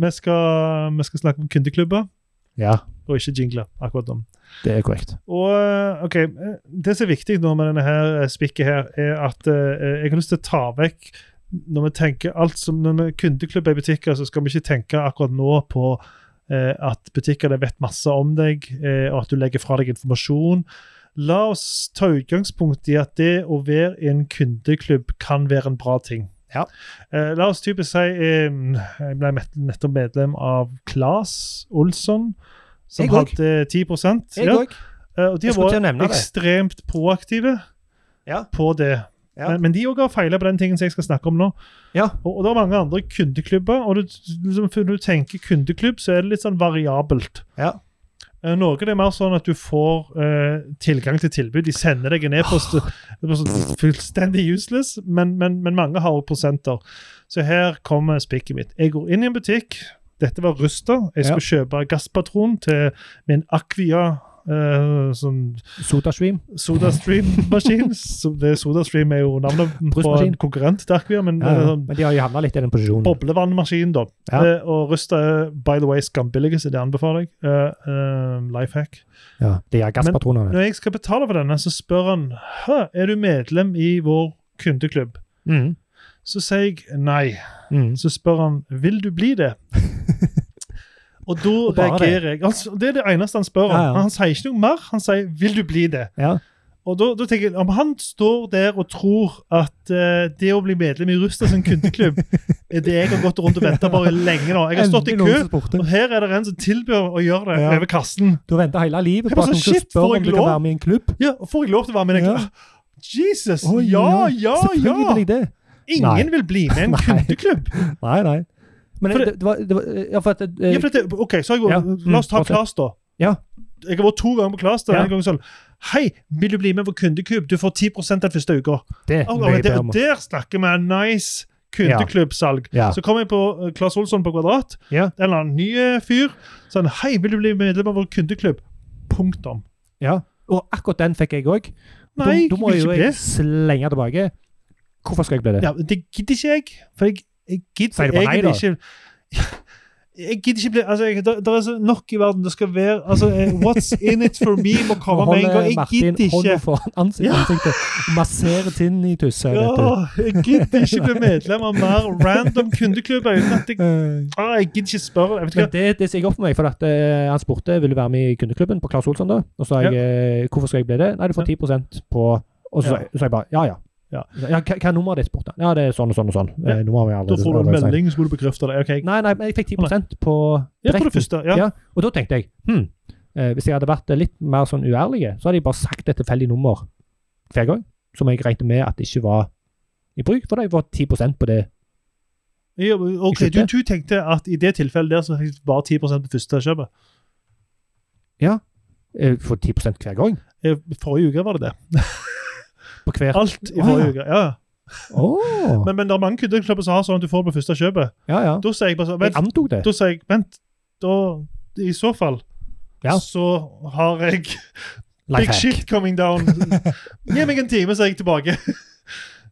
[SPEAKER 1] Vi skal, vi skal snakke om kundeklubber,
[SPEAKER 2] Ja,
[SPEAKER 1] og ikke jingle akkurat nå.
[SPEAKER 2] det er korrekt.
[SPEAKER 1] Og eh, ok, eh, Det som er viktig nå med denne her eh, spikket, her, er at eh, jeg har lyst til å ta vekk Når vi tenker alt som når vi kundeklubber i butikker, så skal vi ikke tenke akkurat nå på eh, at butikkene vet masse om deg, eh, og at du legger fra deg informasjon. La oss ta utgangspunkt i at det å være i en kundeklubb kan være en bra ting.
[SPEAKER 2] Ja.
[SPEAKER 1] Eh, la oss typisk si eh, Jeg ble met- nettopp medlem av Claes Olsson, som
[SPEAKER 2] Jeg òg.
[SPEAKER 1] hadde 10
[SPEAKER 2] Jeg
[SPEAKER 1] Ja.
[SPEAKER 2] òg.
[SPEAKER 1] Eh, Og de
[SPEAKER 2] Jeg
[SPEAKER 1] har
[SPEAKER 2] skulle til å
[SPEAKER 1] vært
[SPEAKER 2] nevne det.
[SPEAKER 1] ekstremt proaktive
[SPEAKER 2] Ja.
[SPEAKER 1] på det.
[SPEAKER 2] Ja.
[SPEAKER 1] Men, men de òg har feila på den tingen som jeg skal snakke om nå.
[SPEAKER 2] Ja.
[SPEAKER 1] Og, og det er mange andre kundeklubber, og du, liksom, når du tenker kundeklubb, så er det litt sånn variabelt.
[SPEAKER 2] Ja.
[SPEAKER 1] Eh, Noe det er mer sånn at du får eh, tilgang til tilbud. De sender deg en e-post. Det er bare sånn Fullstendig useless, men, men, men mange har jo prosenter. Så her kommer spikket mitt. Jeg går inn i en butikk. Dette var Rusta. Jeg skulle kjøpe gasspatron til min Aquia eh, sånn
[SPEAKER 2] Sodastream.
[SPEAKER 1] SodaStream-maskin. som det- SodaStream er jo navnet på
[SPEAKER 2] Brustmaskin.
[SPEAKER 1] en konkurrent til Aquia, men
[SPEAKER 2] Ja,
[SPEAKER 1] det er
[SPEAKER 2] ja.
[SPEAKER 1] sånn
[SPEAKER 2] Men de har jo havna litt i den posisjonen.
[SPEAKER 1] boblevannmaskin, da.
[SPEAKER 2] Ja.
[SPEAKER 1] Eh, og Rusta er by the way skambillige, så det anbefaler jeg. Eh, eh, Lifehack.
[SPEAKER 2] Ja, de er gasspatronene.
[SPEAKER 1] Når jeg skal betale for denne, så spør han «Hæ, er du medlem i vår kundeklubb.
[SPEAKER 2] Mm.
[SPEAKER 1] Så sier jeg nei.
[SPEAKER 2] Mm.
[SPEAKER 1] Så spør han vil du bli det. Og da
[SPEAKER 2] Og bare det.
[SPEAKER 1] reagerer jeg. Altså, det er det eneste han spør om.
[SPEAKER 2] Ja, ja.
[SPEAKER 1] Han sier ikke noe mer. Han sier 'vil du bli det'?
[SPEAKER 2] Ja.
[SPEAKER 1] Og da, da tenker jeg, Om han står der og tror at eh, det å bli medlem i Rusta sin kundeklubb er det jeg har gått rundt og venta på i lenge nå. Jeg har stått i
[SPEAKER 2] Endelig
[SPEAKER 1] kø,
[SPEAKER 2] noen som spurte.
[SPEAKER 1] og her er det en som tilbyr å gjøre det
[SPEAKER 2] Ja.
[SPEAKER 1] over kassen.
[SPEAKER 2] Du har venta hele livet
[SPEAKER 1] Jeg
[SPEAKER 2] på
[SPEAKER 1] bare
[SPEAKER 2] at noen
[SPEAKER 1] sånn,
[SPEAKER 2] skal
[SPEAKER 1] shit, får
[SPEAKER 2] spørre
[SPEAKER 1] jeg
[SPEAKER 2] om du
[SPEAKER 1] lov?
[SPEAKER 2] kan være med i en klubb.
[SPEAKER 1] Ja, og Får jeg lov til å være med? Jeg,
[SPEAKER 2] Ja.
[SPEAKER 1] tenker, «Ah, Jesus!
[SPEAKER 2] Oi,
[SPEAKER 1] ja, ja, ja!
[SPEAKER 2] Selvfølgelig blir det.
[SPEAKER 1] Ingen
[SPEAKER 2] Nei.
[SPEAKER 1] vil bli med i en
[SPEAKER 2] Nei.
[SPEAKER 1] kundeklubb.
[SPEAKER 2] Nei, nei. Men
[SPEAKER 1] For
[SPEAKER 2] det, det, var, det var Ja, for at eh,
[SPEAKER 1] Ja, for dette, ok, så har jeg,
[SPEAKER 2] Ja,
[SPEAKER 1] La oss ta
[SPEAKER 2] mm,
[SPEAKER 1] Klas, da.
[SPEAKER 2] Ja.
[SPEAKER 1] Jeg har vært to ganger på Klas. da,
[SPEAKER 2] Ja.
[SPEAKER 1] en gang sånn, Hei, vil du bli med på kundeklubb? Du får 10 den første uka.
[SPEAKER 2] det
[SPEAKER 1] Oh,
[SPEAKER 2] må jeg be
[SPEAKER 1] der,
[SPEAKER 2] om.
[SPEAKER 1] der snakker vi nice kundeklubbsalg.
[SPEAKER 2] Ja.
[SPEAKER 1] Så kom jeg på eh, Claes Olsson på Kvadrat.
[SPEAKER 2] Ja.
[SPEAKER 1] En eller annen ny eh, fyr. Sånn 'Hei, vil du bli medlem av vår kundeklubb?' Punktum.
[SPEAKER 2] Ja. Og akkurat den fikk jeg òg.
[SPEAKER 1] Nei,
[SPEAKER 2] da, da må
[SPEAKER 1] jeg
[SPEAKER 2] jo
[SPEAKER 1] vil ikke
[SPEAKER 2] jeg
[SPEAKER 1] det.
[SPEAKER 2] slenge tilbake. Hvorfor skal jeg bli det?
[SPEAKER 1] Ja, det gidder ikke jeg. For jeg, jeg
[SPEAKER 2] Si
[SPEAKER 1] gidder
[SPEAKER 2] det på nei,
[SPEAKER 1] egentlig ikke Jeg gidder ikke bli altså, jeg, der, der er så nok i verden det skal være altså, eh, What's in it for me må
[SPEAKER 2] Nå
[SPEAKER 1] komme med en
[SPEAKER 2] holder
[SPEAKER 1] gang. Jeg
[SPEAKER 2] Martin
[SPEAKER 1] gidder ikke.
[SPEAKER 2] hånda foran ansikt,
[SPEAKER 1] Ja.
[SPEAKER 2] ansiktet og masserer tinnitus. her, vet du.
[SPEAKER 1] Ja, jeg gidder ikke bli medlem av mer random kundeklubber uten at jeg
[SPEAKER 2] Eh,
[SPEAKER 1] ah, Jeg gidder ikke spørre. Jeg vet ikke
[SPEAKER 2] Men det, det sier jeg opp for meg, for at eh, han spurte vil du være med i kundeklubben på Claes Olsson. da, Og så sa jeg eh, hvorfor skal jeg bli det? Nei, du får 10 på Og så sa
[SPEAKER 1] Ja.
[SPEAKER 2] jeg- så sa jeg bare ja, ja.
[SPEAKER 1] Ja.
[SPEAKER 2] Så, ja hva, hva er nummeret ditt? spurte han. Ja, det er sånn og sånn og sånn.
[SPEAKER 1] Ja.
[SPEAKER 2] Eh, nummeret har vi
[SPEAKER 1] Da
[SPEAKER 2] allerede-
[SPEAKER 1] får du en
[SPEAKER 2] allerede sagt.
[SPEAKER 1] melding, så må du bekrefte det. Ok, jeg-
[SPEAKER 2] Nei, nei, men jeg fikk 10 på
[SPEAKER 1] ja, på det
[SPEAKER 2] direkten.
[SPEAKER 1] første. Ja.
[SPEAKER 2] Ja. Og da tenkte jeg hm, eh, hvis jeg hadde vært litt mer sånn uærlig, så hadde jeg bare sagt et tilfeldig nummer hver gang, som jeg regnet med at det ikke var i bruk, for da jeg var 10 på det.
[SPEAKER 1] Ja, men ok,
[SPEAKER 2] Ikke
[SPEAKER 1] du, du tenkte at i det tilfellet der så fikk du bare 10 på første kjøpet.
[SPEAKER 2] eh, For 10 hver gang?
[SPEAKER 1] I forrige uke var det det.
[SPEAKER 2] På hver
[SPEAKER 1] Alt i
[SPEAKER 2] Å, ja.
[SPEAKER 1] forrige uke. ja.
[SPEAKER 2] Åh.
[SPEAKER 1] Ah, Men, men det er mange kundeklubber som har sånn at du får på første kjøpet.
[SPEAKER 2] Ja, ja.
[SPEAKER 1] Da sier jeg bare sånn
[SPEAKER 2] Jeg
[SPEAKER 1] Vent,
[SPEAKER 2] antok det.
[SPEAKER 1] da sier jeg, vent da, I så fall
[SPEAKER 2] Ja.
[SPEAKER 1] så har jeg big
[SPEAKER 2] Lifehack.
[SPEAKER 1] shit coming down. Gi meg en time, så er jeg tilbake.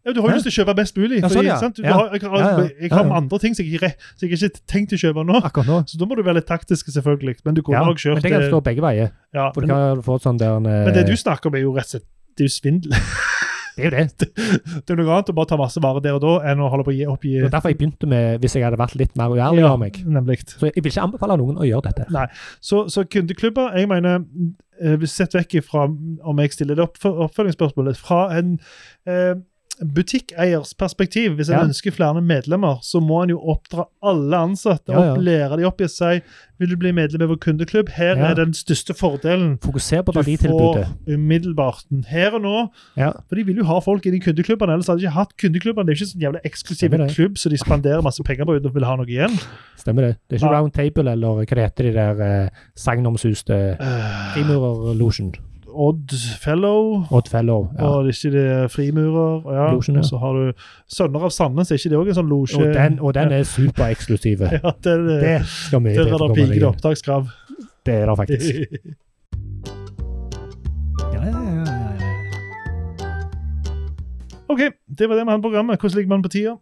[SPEAKER 1] Ja, du har
[SPEAKER 2] Hæ?
[SPEAKER 1] jo lyst til å kjøpe mest mulig.
[SPEAKER 2] Ja,
[SPEAKER 1] fordi,
[SPEAKER 2] sånn, ja.
[SPEAKER 1] sant? Du,
[SPEAKER 2] Ja.
[SPEAKER 1] Har, jeg, har,
[SPEAKER 2] Ja, ja.
[SPEAKER 1] jeg har
[SPEAKER 2] Ja, ja.
[SPEAKER 1] andre ting som jeg, ikke, re- som jeg ikke tenkt å kjøpe nå.
[SPEAKER 2] Akkurat nå.
[SPEAKER 1] Så da må du være litt taktisk, selvfølgelig. Men du kunne
[SPEAKER 2] Ja.
[SPEAKER 1] nok
[SPEAKER 2] Men
[SPEAKER 1] kjørt
[SPEAKER 2] det kan
[SPEAKER 1] eh,
[SPEAKER 2] stå begge veier.
[SPEAKER 1] ja,
[SPEAKER 2] For du
[SPEAKER 1] men,
[SPEAKER 2] kan få et sånt der en, eh,
[SPEAKER 1] men det du snakker om, er jo rett og slett det er jo svindel.
[SPEAKER 2] Det er jo det.
[SPEAKER 1] Det er noe annet å bare ta masse varer der og da enn å holde på å gi opp i
[SPEAKER 2] Det var derfor jeg begynte med Hvis jeg hadde vært litt mer uærlig av meg.
[SPEAKER 1] Nemlig.
[SPEAKER 2] Så jeg vil ikke anbefale noen å gjøre dette.
[SPEAKER 1] Så, så kundeklubber, jeg mener eh, hvis Sett vekk fra om jeg stiller det opp for oppfølgingsspørsmålet. Fra en eh, butikkeiers perspektiv, hvis en
[SPEAKER 2] Ja.
[SPEAKER 1] ønsker flere medlemmer, så må en jo oppdra alle ansatte.
[SPEAKER 2] Ja, ja.
[SPEAKER 1] Opp, lære de opp i å si vil du bli medlem i vår kundeklubb. Her
[SPEAKER 2] Ja.
[SPEAKER 1] er den største fordelen.
[SPEAKER 2] Fokuser på
[SPEAKER 1] Du får
[SPEAKER 2] verditilbudet.
[SPEAKER 1] umiddelbart den her og nå.
[SPEAKER 2] Ja.
[SPEAKER 1] For de vil jo ha folk inn i kundeklubbene, ellers hadde de ikke hatt kundeklubbene. Det er jo ikke sånn jævla eksklusiv
[SPEAKER 2] Stemmer det.
[SPEAKER 1] klubb så de spanderer masse penger på uten å ville ha noe igjen.
[SPEAKER 2] Stemmer det. Det er ikke
[SPEAKER 1] Ja.
[SPEAKER 2] Round Table eller hva det heter de der eh, sagnomsuste
[SPEAKER 1] Eh,
[SPEAKER 2] Frimurerlosjen.
[SPEAKER 1] Odd Fellow
[SPEAKER 2] Odd Fellow. Ja.
[SPEAKER 1] Og det er ikke det er frimurer. og Ja.
[SPEAKER 2] Losjen, ja.
[SPEAKER 1] Og så har du Sønner av Sandnes. Er ikke det òg en sånn losje?
[SPEAKER 2] Og, den, og den er supereksklusiv.
[SPEAKER 1] ja, den,
[SPEAKER 2] Det skal mye
[SPEAKER 1] der
[SPEAKER 2] til
[SPEAKER 1] er
[SPEAKER 2] for
[SPEAKER 1] det
[SPEAKER 2] å komme deg
[SPEAKER 1] piker
[SPEAKER 2] inn.
[SPEAKER 1] opptakskrav.
[SPEAKER 2] Det er det faktisk.
[SPEAKER 1] OK, det var det vi hadde på programmet. Hvordan ligger man på tida?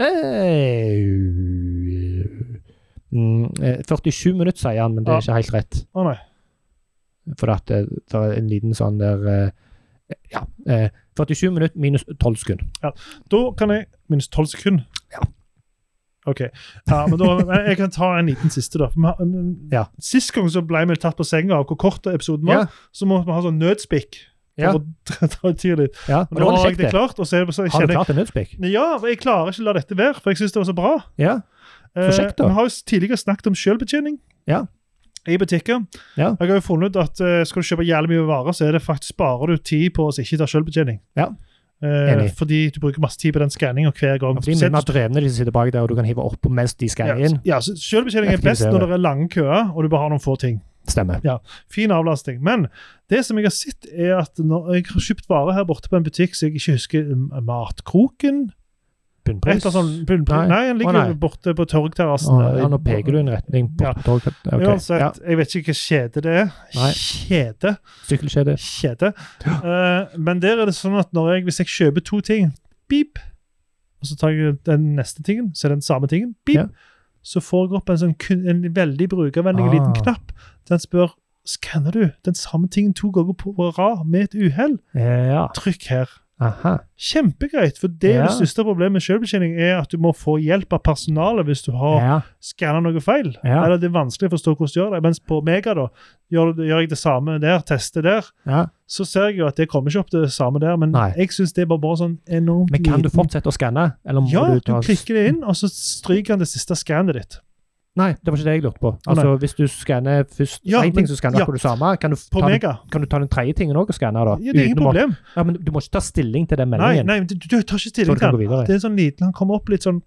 [SPEAKER 2] Hey. Mm, eh, 47 minutter, sier han, men det
[SPEAKER 1] Ja.
[SPEAKER 2] er ikke helt rett.
[SPEAKER 1] Å nei.
[SPEAKER 2] For at eh, det er en liten sånn der eh, Ja. eh, 47 minutter minus 12 sekunder.
[SPEAKER 1] Da kan jeg Minst tolv sekunder.
[SPEAKER 2] Ja.
[SPEAKER 1] OK. Ja, men da, men jeg kan ta en liten siste, da. For vi har- men-
[SPEAKER 2] Ja.
[SPEAKER 1] Sist gang så ble vi tatt på senga av hvor kort episoden var.
[SPEAKER 2] Ja.
[SPEAKER 1] Så måtte vi ha sånn nødspikk.
[SPEAKER 2] Ja.
[SPEAKER 1] For å ta tida litt.
[SPEAKER 2] Ja,
[SPEAKER 1] Men
[SPEAKER 2] men det
[SPEAKER 1] nå har
[SPEAKER 2] var litt
[SPEAKER 1] jeg det
[SPEAKER 2] kjekt, det.
[SPEAKER 1] klart. Og så er det, så jeg
[SPEAKER 2] Har du
[SPEAKER 1] kjenner,
[SPEAKER 2] klart en nødspikk?
[SPEAKER 1] ja, men jeg klarer ikke å la dette være, for jeg syns det var så bra.
[SPEAKER 2] Ja.
[SPEAKER 1] Eh,
[SPEAKER 2] kjekt, da.
[SPEAKER 1] Vi har jo tidligere snakket om selvbetjening
[SPEAKER 2] Ja.
[SPEAKER 1] i butikker.
[SPEAKER 2] Ja.
[SPEAKER 1] Jeg har jo funnet ut at eh, skal du kjøpe jævlig mye varer, så er det faktisk sparer du tid på å ikke ta selvbetjening.
[SPEAKER 2] Ja.
[SPEAKER 1] Eh,
[SPEAKER 2] Enig.
[SPEAKER 1] fordi du bruker masse tid på den skanninga hver gang.
[SPEAKER 2] Fordi vi er mer drevne, de som sitter bak der, og du kan hive opp mens de skal
[SPEAKER 1] ja,
[SPEAKER 2] inn.
[SPEAKER 1] ja, så Selvbetjening er best
[SPEAKER 2] Effektivisere.
[SPEAKER 1] når det er lange køer og du bare har noen få ting.
[SPEAKER 2] Stemmer.
[SPEAKER 1] Fin avlastning. Men det som jeg har sett, er at når jeg har kjøpt varer her borte på en butikk så jeg ikke husker um, Matkroken
[SPEAKER 2] Bunnpris.
[SPEAKER 1] Et av sånn, nei,
[SPEAKER 2] Nei.
[SPEAKER 1] nei, han ligger
[SPEAKER 2] Å, nei.
[SPEAKER 1] borte på torgterrassen.
[SPEAKER 2] Å,
[SPEAKER 1] der.
[SPEAKER 2] ja, nå peker du i en retning. På,
[SPEAKER 1] Ja.
[SPEAKER 2] tog- ok,
[SPEAKER 1] Uansett,
[SPEAKER 2] Ja.
[SPEAKER 1] jeg vet ikke hva kjede det er.
[SPEAKER 2] Nei.
[SPEAKER 1] Kjede.
[SPEAKER 2] Sykkelkjede.
[SPEAKER 1] Kjede. Eh, men der er det sånn at når jeg, hvis jeg kjøper to ting, beep, og så tar jeg den neste tingen, så er det den samme tingen, beep,
[SPEAKER 2] Ja.
[SPEAKER 1] så får jeg opp en, sånn, kun- en veldig brukervennlig
[SPEAKER 2] Ah.
[SPEAKER 1] liten knapp. Den spør skanner du den samme tingen to ganger på rad med et uhell?
[SPEAKER 2] Ja.
[SPEAKER 1] Trykk her.
[SPEAKER 2] Aha.
[SPEAKER 1] Kjempegreit, for det er det
[SPEAKER 2] Ja.
[SPEAKER 1] største problemet med selvbetjening, er at du må få hjelp av personalet hvis du har
[SPEAKER 2] Ja.
[SPEAKER 1] skanner noe feil.
[SPEAKER 2] Ja.
[SPEAKER 1] Eller det er vanskelig å forstå hvordan de gjør det. Mens på Mega da, gjør, gjør jeg det samme der, tester der,
[SPEAKER 2] ja.
[SPEAKER 1] så ser jeg jo at det kommer ikke opp det samme der. Men
[SPEAKER 2] Nei.
[SPEAKER 1] jeg syns det er bare, bare sånn enormt
[SPEAKER 2] Men kan du
[SPEAKER 1] liten-
[SPEAKER 2] fortsette å skanne? Eller må
[SPEAKER 1] Ja,
[SPEAKER 2] du
[SPEAKER 1] du,
[SPEAKER 2] ta
[SPEAKER 1] klikker det inn, og så stryker han det siste skannet ditt.
[SPEAKER 2] Nei, det var ikke det jeg lurte på. Altså, Hvis du skanner først én
[SPEAKER 1] Ja,
[SPEAKER 2] ting,
[SPEAKER 1] men-
[SPEAKER 2] så skanner du
[SPEAKER 1] ja.
[SPEAKER 2] akkurat det samme. Kan du,
[SPEAKER 1] På
[SPEAKER 2] ta den,
[SPEAKER 1] Mega.
[SPEAKER 2] kan du ta den tredje tingen òg og skanne? da?
[SPEAKER 1] Ja, det er
[SPEAKER 2] Uten
[SPEAKER 1] ingen
[SPEAKER 2] å bare-
[SPEAKER 1] problem.
[SPEAKER 2] Ja, men du må ikke ta stilling til den
[SPEAKER 1] Nei,
[SPEAKER 2] meldingen.
[SPEAKER 1] nei, men du, du tar ikke
[SPEAKER 2] Så
[SPEAKER 1] stilling
[SPEAKER 2] du kan
[SPEAKER 1] til
[SPEAKER 2] gå videre.
[SPEAKER 1] han. Det er sånn liten, han kommer opp litt sånn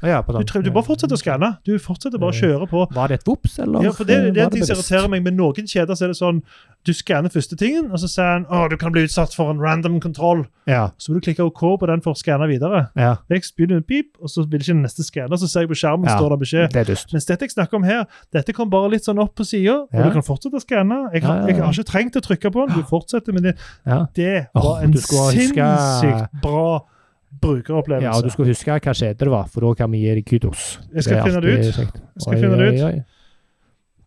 [SPEAKER 2] Ja, på
[SPEAKER 1] Du,
[SPEAKER 2] sånn-
[SPEAKER 1] tre- du bare fortsetter å skanne. Du fortsetter bare å kjøre på.
[SPEAKER 2] Var det et vops, eller?
[SPEAKER 1] Ja, for Det det er
[SPEAKER 2] var
[SPEAKER 1] det som
[SPEAKER 2] bevisst?
[SPEAKER 1] irriterer meg med noen kjeder. så er det sånn, Du skanner første tingen, og så sier han å, du kan bli utsatt for en random kontroll.
[SPEAKER 2] Ja,
[SPEAKER 1] Så må du klikke OK på den for å skanne videre.
[SPEAKER 2] ja.
[SPEAKER 1] Jeg begynner med pip, og så vil ikke den neste skanne, så ser jeg på skjermen
[SPEAKER 2] Ja.
[SPEAKER 1] står det beskjed.
[SPEAKER 2] Det er dust.
[SPEAKER 1] Mens dette jeg snakker om her, dette kom bare litt sånn opp på sida, og
[SPEAKER 2] Ja.
[SPEAKER 1] du kan fortsette å skanne. Jeg, har-
[SPEAKER 2] Ja, ja, ja.
[SPEAKER 1] jeg har ikke trengt å trykke på den, du fortsetter med det.
[SPEAKER 2] Ja.
[SPEAKER 1] Det var
[SPEAKER 2] Åh,
[SPEAKER 1] en
[SPEAKER 2] du skulle huske-
[SPEAKER 1] sinnssykt bra brukeropplevelse.
[SPEAKER 2] ja, og du skal huske hva skjede det var, for da kan vi gi deg kudos.
[SPEAKER 1] Jeg skal
[SPEAKER 2] er
[SPEAKER 1] finne det
[SPEAKER 2] alltid
[SPEAKER 1] ut.
[SPEAKER 2] kjekt.
[SPEAKER 1] Jeg skal finne det ut.
[SPEAKER 2] oi.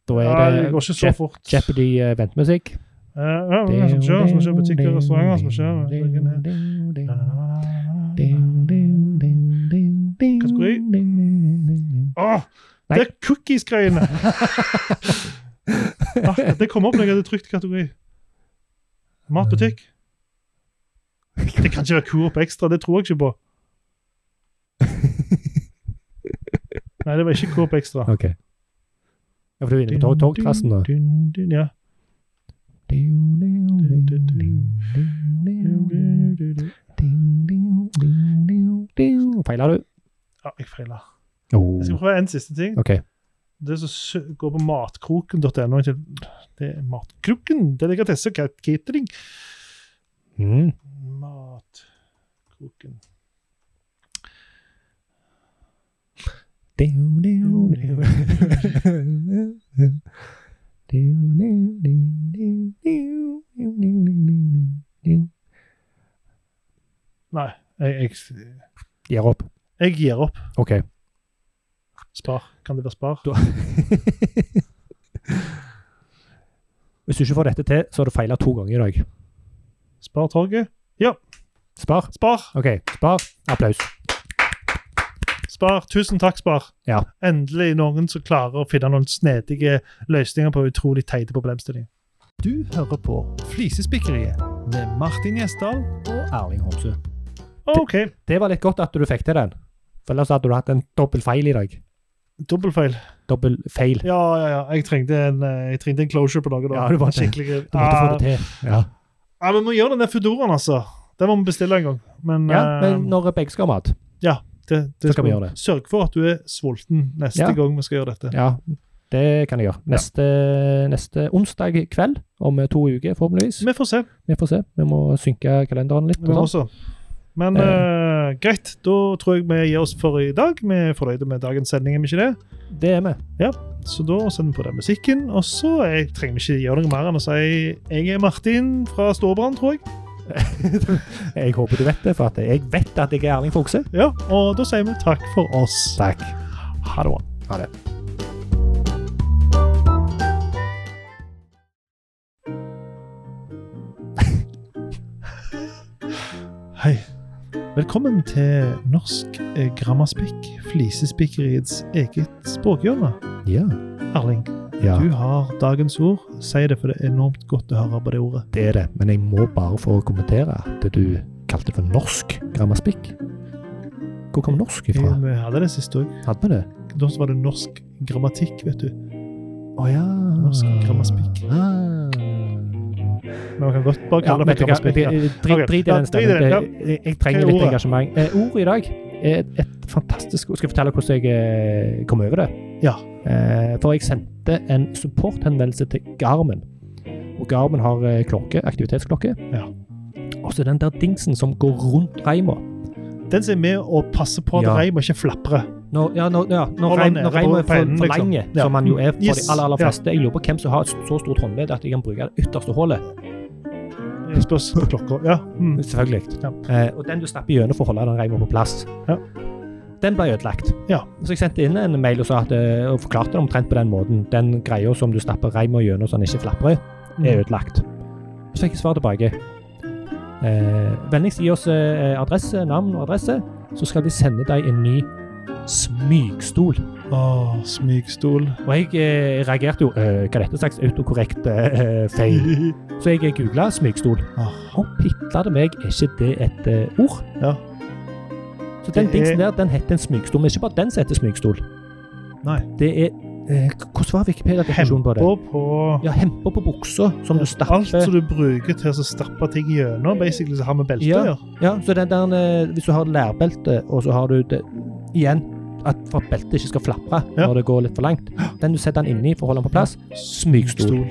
[SPEAKER 2] Da
[SPEAKER 1] Ja,
[SPEAKER 2] er
[SPEAKER 1] det
[SPEAKER 2] det
[SPEAKER 1] går ikke så
[SPEAKER 2] Jep-
[SPEAKER 1] fort.
[SPEAKER 2] Jeopardy eh, ventemusikk.
[SPEAKER 1] Eh, ja, hva som skjer? Som skjer i butikker og restauranter? Som skjer? Hva Kategori. Åh,
[SPEAKER 2] Nei.
[SPEAKER 1] det er cookies-greiene! Akkurat, det kom opp når jeg hadde trykt kategori. Matbutikk. Det kan ikke være Coop Extra, det tror jeg ikke på. Nei, det var ikke Coop Extra.
[SPEAKER 2] Ok. Ja, for du er inne på tog- togtrassen, da.
[SPEAKER 1] Dun, dun, ja.
[SPEAKER 2] Mm, Feila du?
[SPEAKER 1] ja, jeg feiler.
[SPEAKER 2] Oh.
[SPEAKER 1] Jeg skal prøve en siste ting.
[SPEAKER 2] Ok.
[SPEAKER 1] Det som sø- går på matkroken.no ikke- Det er matkroken! Delikatesse og cat- catering.
[SPEAKER 2] Mm.
[SPEAKER 1] Matkroken
[SPEAKER 2] Mm.
[SPEAKER 1] Nei, jeg, jeg,
[SPEAKER 2] Gir opp.
[SPEAKER 1] jeg gir opp.
[SPEAKER 2] Ok.
[SPEAKER 1] Spar. Kan det være spar?
[SPEAKER 2] Hvis du ikke får dette til, så har du feila to ganger i dag.
[SPEAKER 1] Spar torget.
[SPEAKER 2] Spar.
[SPEAKER 1] Spar!
[SPEAKER 2] Ok, spar. Applaus.
[SPEAKER 1] Spar! Tusen takk, Spar.
[SPEAKER 2] Ja.
[SPEAKER 1] Endelig noen som klarer å finne noen snedige løsninger på utrolig teite problemstillinger. Du hører på Flisespikkeriet med Martin Gjesdal.
[SPEAKER 2] Og Erling Homsø.
[SPEAKER 1] OK,
[SPEAKER 2] Det var litt godt at du fikk til den. For ellers hadde du hatt en dobbel feil i dag.
[SPEAKER 1] dobbeltfeil.
[SPEAKER 2] Dobbel feil.
[SPEAKER 1] Ja, ja, ja. Jeg trengte en, eh, jeg trengte en closure på noe. da.
[SPEAKER 2] Ja, du måtte-
[SPEAKER 1] Skikkelig.
[SPEAKER 2] Du måtte få det til. Ja,
[SPEAKER 1] Ja, men vi må gjøre den der Foodoraen, altså. Den må vi bestille en gang. Men,
[SPEAKER 2] ja
[SPEAKER 1] eh,
[SPEAKER 2] men um, når begge skal ha mat.
[SPEAKER 1] det, det
[SPEAKER 2] så kan vi gjøre det.
[SPEAKER 1] Sørg for at du er sulten neste
[SPEAKER 2] Ja.
[SPEAKER 1] gang vi skal gjøre dette.
[SPEAKER 2] Ja, det kan jeg gjøre. Neste, neste onsdag kveld, om to uker forhåpentligvis.
[SPEAKER 1] Vi får se.
[SPEAKER 2] Vi får se. Vi må synke kalenderen litt.
[SPEAKER 1] Vi
[SPEAKER 2] Og sånn.
[SPEAKER 1] også. Men eh, greit, da tror jeg vi gir oss for i dag. Vi er fornøyde med dagens sending, er vi ikke det?
[SPEAKER 2] Det er vi.
[SPEAKER 1] Så da sender vi på den musikken. Og så eh, trenger vi ikke gjøre noe mer enn å si jeg er Martin fra Storbrann, tror jeg.
[SPEAKER 2] Jeg håper du vet det, for at jeg vet at jeg er Erling Fogse.
[SPEAKER 1] Ja, Og da sier vi takk for oss.
[SPEAKER 2] Takk.
[SPEAKER 1] Ha det bra.
[SPEAKER 2] Ha det.
[SPEAKER 1] Hei. Velkommen til Norsk eh, Grammaspikk, Flisespikkeriets eget språkhjørne.
[SPEAKER 2] Ja.
[SPEAKER 1] Erling,
[SPEAKER 2] ja.
[SPEAKER 1] du har dagens ord. Si det, for det er enormt godt å høre på det ordet.
[SPEAKER 2] Det er det, men jeg må bare få kommentere at du kalte det for norsk grammaspikk. Hvor kom norsk
[SPEAKER 1] Vi
[SPEAKER 2] ifra?
[SPEAKER 1] Eh, vi hadde det siste òg.
[SPEAKER 2] Hadde vi det?
[SPEAKER 1] Da så var det norsk grammatikk, vet du.
[SPEAKER 2] Å ja.
[SPEAKER 1] Norsk grammaspikk.
[SPEAKER 2] Ah.
[SPEAKER 1] Men man kan godt bare
[SPEAKER 2] Ja,
[SPEAKER 1] kalle det
[SPEAKER 2] vet
[SPEAKER 1] for
[SPEAKER 2] du hva?
[SPEAKER 1] grammaspikk. ja.
[SPEAKER 2] Drit drit i
[SPEAKER 1] Ja, drit
[SPEAKER 2] den
[SPEAKER 1] i
[SPEAKER 2] stemmen.
[SPEAKER 1] den, ja.
[SPEAKER 2] Det- Jeg, jeg trenger
[SPEAKER 1] Hva er
[SPEAKER 2] litt
[SPEAKER 1] ordet?
[SPEAKER 2] engasjement. Eh, Ordet i dag er et, et fantastisk ord. Skal jeg fortelle hvordan jeg eh, kom over det?
[SPEAKER 1] Ja.
[SPEAKER 2] Eh, For jeg sendte en supporthenvendelse til Garmin. Og Garmin har eh, klokke, aktivitetsklokke.
[SPEAKER 1] Ja.
[SPEAKER 2] Og så den der dingsen som går rundt reima.
[SPEAKER 1] Den som er med og passer på at
[SPEAKER 2] Ja.
[SPEAKER 1] reima ikke flaprer.
[SPEAKER 2] Når, ja, når, ja, når,
[SPEAKER 1] Holder
[SPEAKER 2] reim,
[SPEAKER 1] nede
[SPEAKER 2] når
[SPEAKER 1] på
[SPEAKER 2] reimen er for,
[SPEAKER 1] pennen,
[SPEAKER 2] for
[SPEAKER 1] liksom.
[SPEAKER 2] lang,
[SPEAKER 1] Ja.
[SPEAKER 2] som han jo er for
[SPEAKER 1] Yes.
[SPEAKER 2] de aller, aller
[SPEAKER 1] Ja.
[SPEAKER 2] flest Jeg lurer på hvem som har et så stort håndledd at de kan bruke det ytterste hullet.
[SPEAKER 1] Det spørs på klokka. Ja. Mm.
[SPEAKER 2] Selvfølgelig.
[SPEAKER 1] Ja.
[SPEAKER 2] Eh, og den du snapper gjennom for å holde den reima på plass,
[SPEAKER 1] Ja.
[SPEAKER 2] den ble ødelagt.
[SPEAKER 1] Ja.
[SPEAKER 2] Så jeg sendte inn en mail og, sa at, eh, og forklarte det omtrent på den måten. Den greia som du snapper reima gjennom så den ikke flaprer,
[SPEAKER 1] Mm.
[SPEAKER 2] er ødelagt. Så fikk jeg svar tilbake. Eh, Vennligst gi oss eh, adresse, navn og adresse, så skal vi sende deg en ny smygstol.
[SPEAKER 1] Mm. Åh, smygstol.
[SPEAKER 2] Og jeg eh, reagerte jo eh, Hva er dette slags autokorrekt eh, feil? Så jeg googla smygstol.
[SPEAKER 1] Ah.
[SPEAKER 2] Og pitta det meg, er ikke det et eh, ord?
[SPEAKER 1] Ja.
[SPEAKER 2] Så
[SPEAKER 1] Det
[SPEAKER 2] den
[SPEAKER 1] er-
[SPEAKER 2] dingsen der, den heter en smygstol. Men ikke bare den som heter smygstol.
[SPEAKER 1] Nei.
[SPEAKER 2] Det er eh, k- Hvordan var Wikipedia-definisjonen på det?
[SPEAKER 1] Hemper på
[SPEAKER 2] Ja, hemper på buksa som du
[SPEAKER 1] Alt som
[SPEAKER 2] stapper.
[SPEAKER 1] du bruker til å stappe ting gjennom, basically, så har vi belte å
[SPEAKER 2] Ja.
[SPEAKER 1] gjøre.
[SPEAKER 2] eh, Ja, så den der, eh, hvis du har lærbelte, og så har du det igjen at for at beltet ikke skal flapre
[SPEAKER 1] Ja.
[SPEAKER 2] når det går litt for langt. Den du setter den inni for å holde den på plass, smygstol.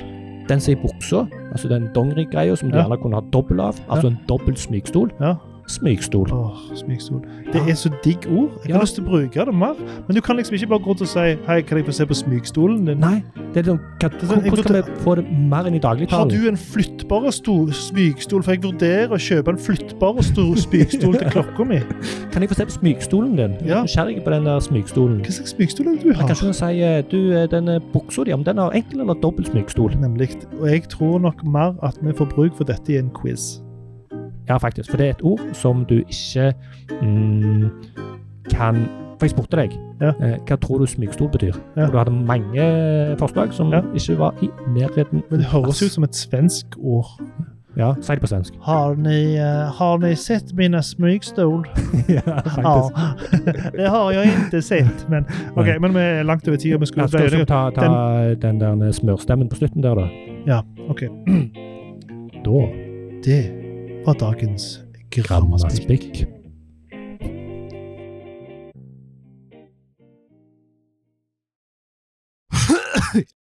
[SPEAKER 2] Den som er i buksa, altså den dongerigreia som du
[SPEAKER 1] Ja.
[SPEAKER 2] gjerne kunne ha dobbel av, altså en dobbel smygstol,
[SPEAKER 1] Ja.
[SPEAKER 2] smygstol.
[SPEAKER 1] Åh, smygstol. Det er så digg ord. Jeg har
[SPEAKER 2] Ja.
[SPEAKER 1] lyst til å bruke det mer. Men du kan liksom ikke bare gå rundt og si Hei, kan jeg få se på smygstolen din?
[SPEAKER 2] Nei, det er liksom, hva,
[SPEAKER 1] er sånn-
[SPEAKER 2] hvor- hvordan skal vi få det mer inn i
[SPEAKER 1] Har
[SPEAKER 2] dagligtalen?
[SPEAKER 1] du en flyttbar sto- smygstol? For jeg vurderer å kjøpe en flyttbar sto- smygstol til klokka mi.
[SPEAKER 2] Kan jeg få se på smygstolen din? Jeg
[SPEAKER 1] Ja.
[SPEAKER 2] er nysgjerrig på den der smygstolen.
[SPEAKER 1] Hva slags smygstol er det du
[SPEAKER 2] Jeg kan
[SPEAKER 1] har?
[SPEAKER 2] ikke si eh, du, eh, den eh, buksa di, om den har enkel eller dobbel smygstol.
[SPEAKER 1] Nemlig. Og jeg tror nok mer at vi får bruk for dette i en quiz.
[SPEAKER 2] Ja, faktisk. For det er et ord som du ikke mm, kan For jeg spurte deg
[SPEAKER 1] Ja.
[SPEAKER 2] eh, hva tror du smygstol betyr.
[SPEAKER 1] Ja.
[SPEAKER 2] Og du hadde mange forslag som
[SPEAKER 1] Ja.
[SPEAKER 2] ikke var i nærheten.
[SPEAKER 1] Men det høres ut som et svensk ord.
[SPEAKER 2] Ja, Si det på svensk.
[SPEAKER 1] Har ni, eh, har ni sett mine smygstol?
[SPEAKER 2] ja, faktisk.
[SPEAKER 1] Ja. Det har jeg ikke sett, men Ok,
[SPEAKER 2] Nei.
[SPEAKER 1] men vi er langt over tida. Vi skulle
[SPEAKER 2] Ja, skal vi ta, ta den, der smørstemmen på slutten der, da?
[SPEAKER 1] Ja, ok.
[SPEAKER 2] Da
[SPEAKER 1] Det var dagens grammaspikk.
[SPEAKER 2] Grammaspikk.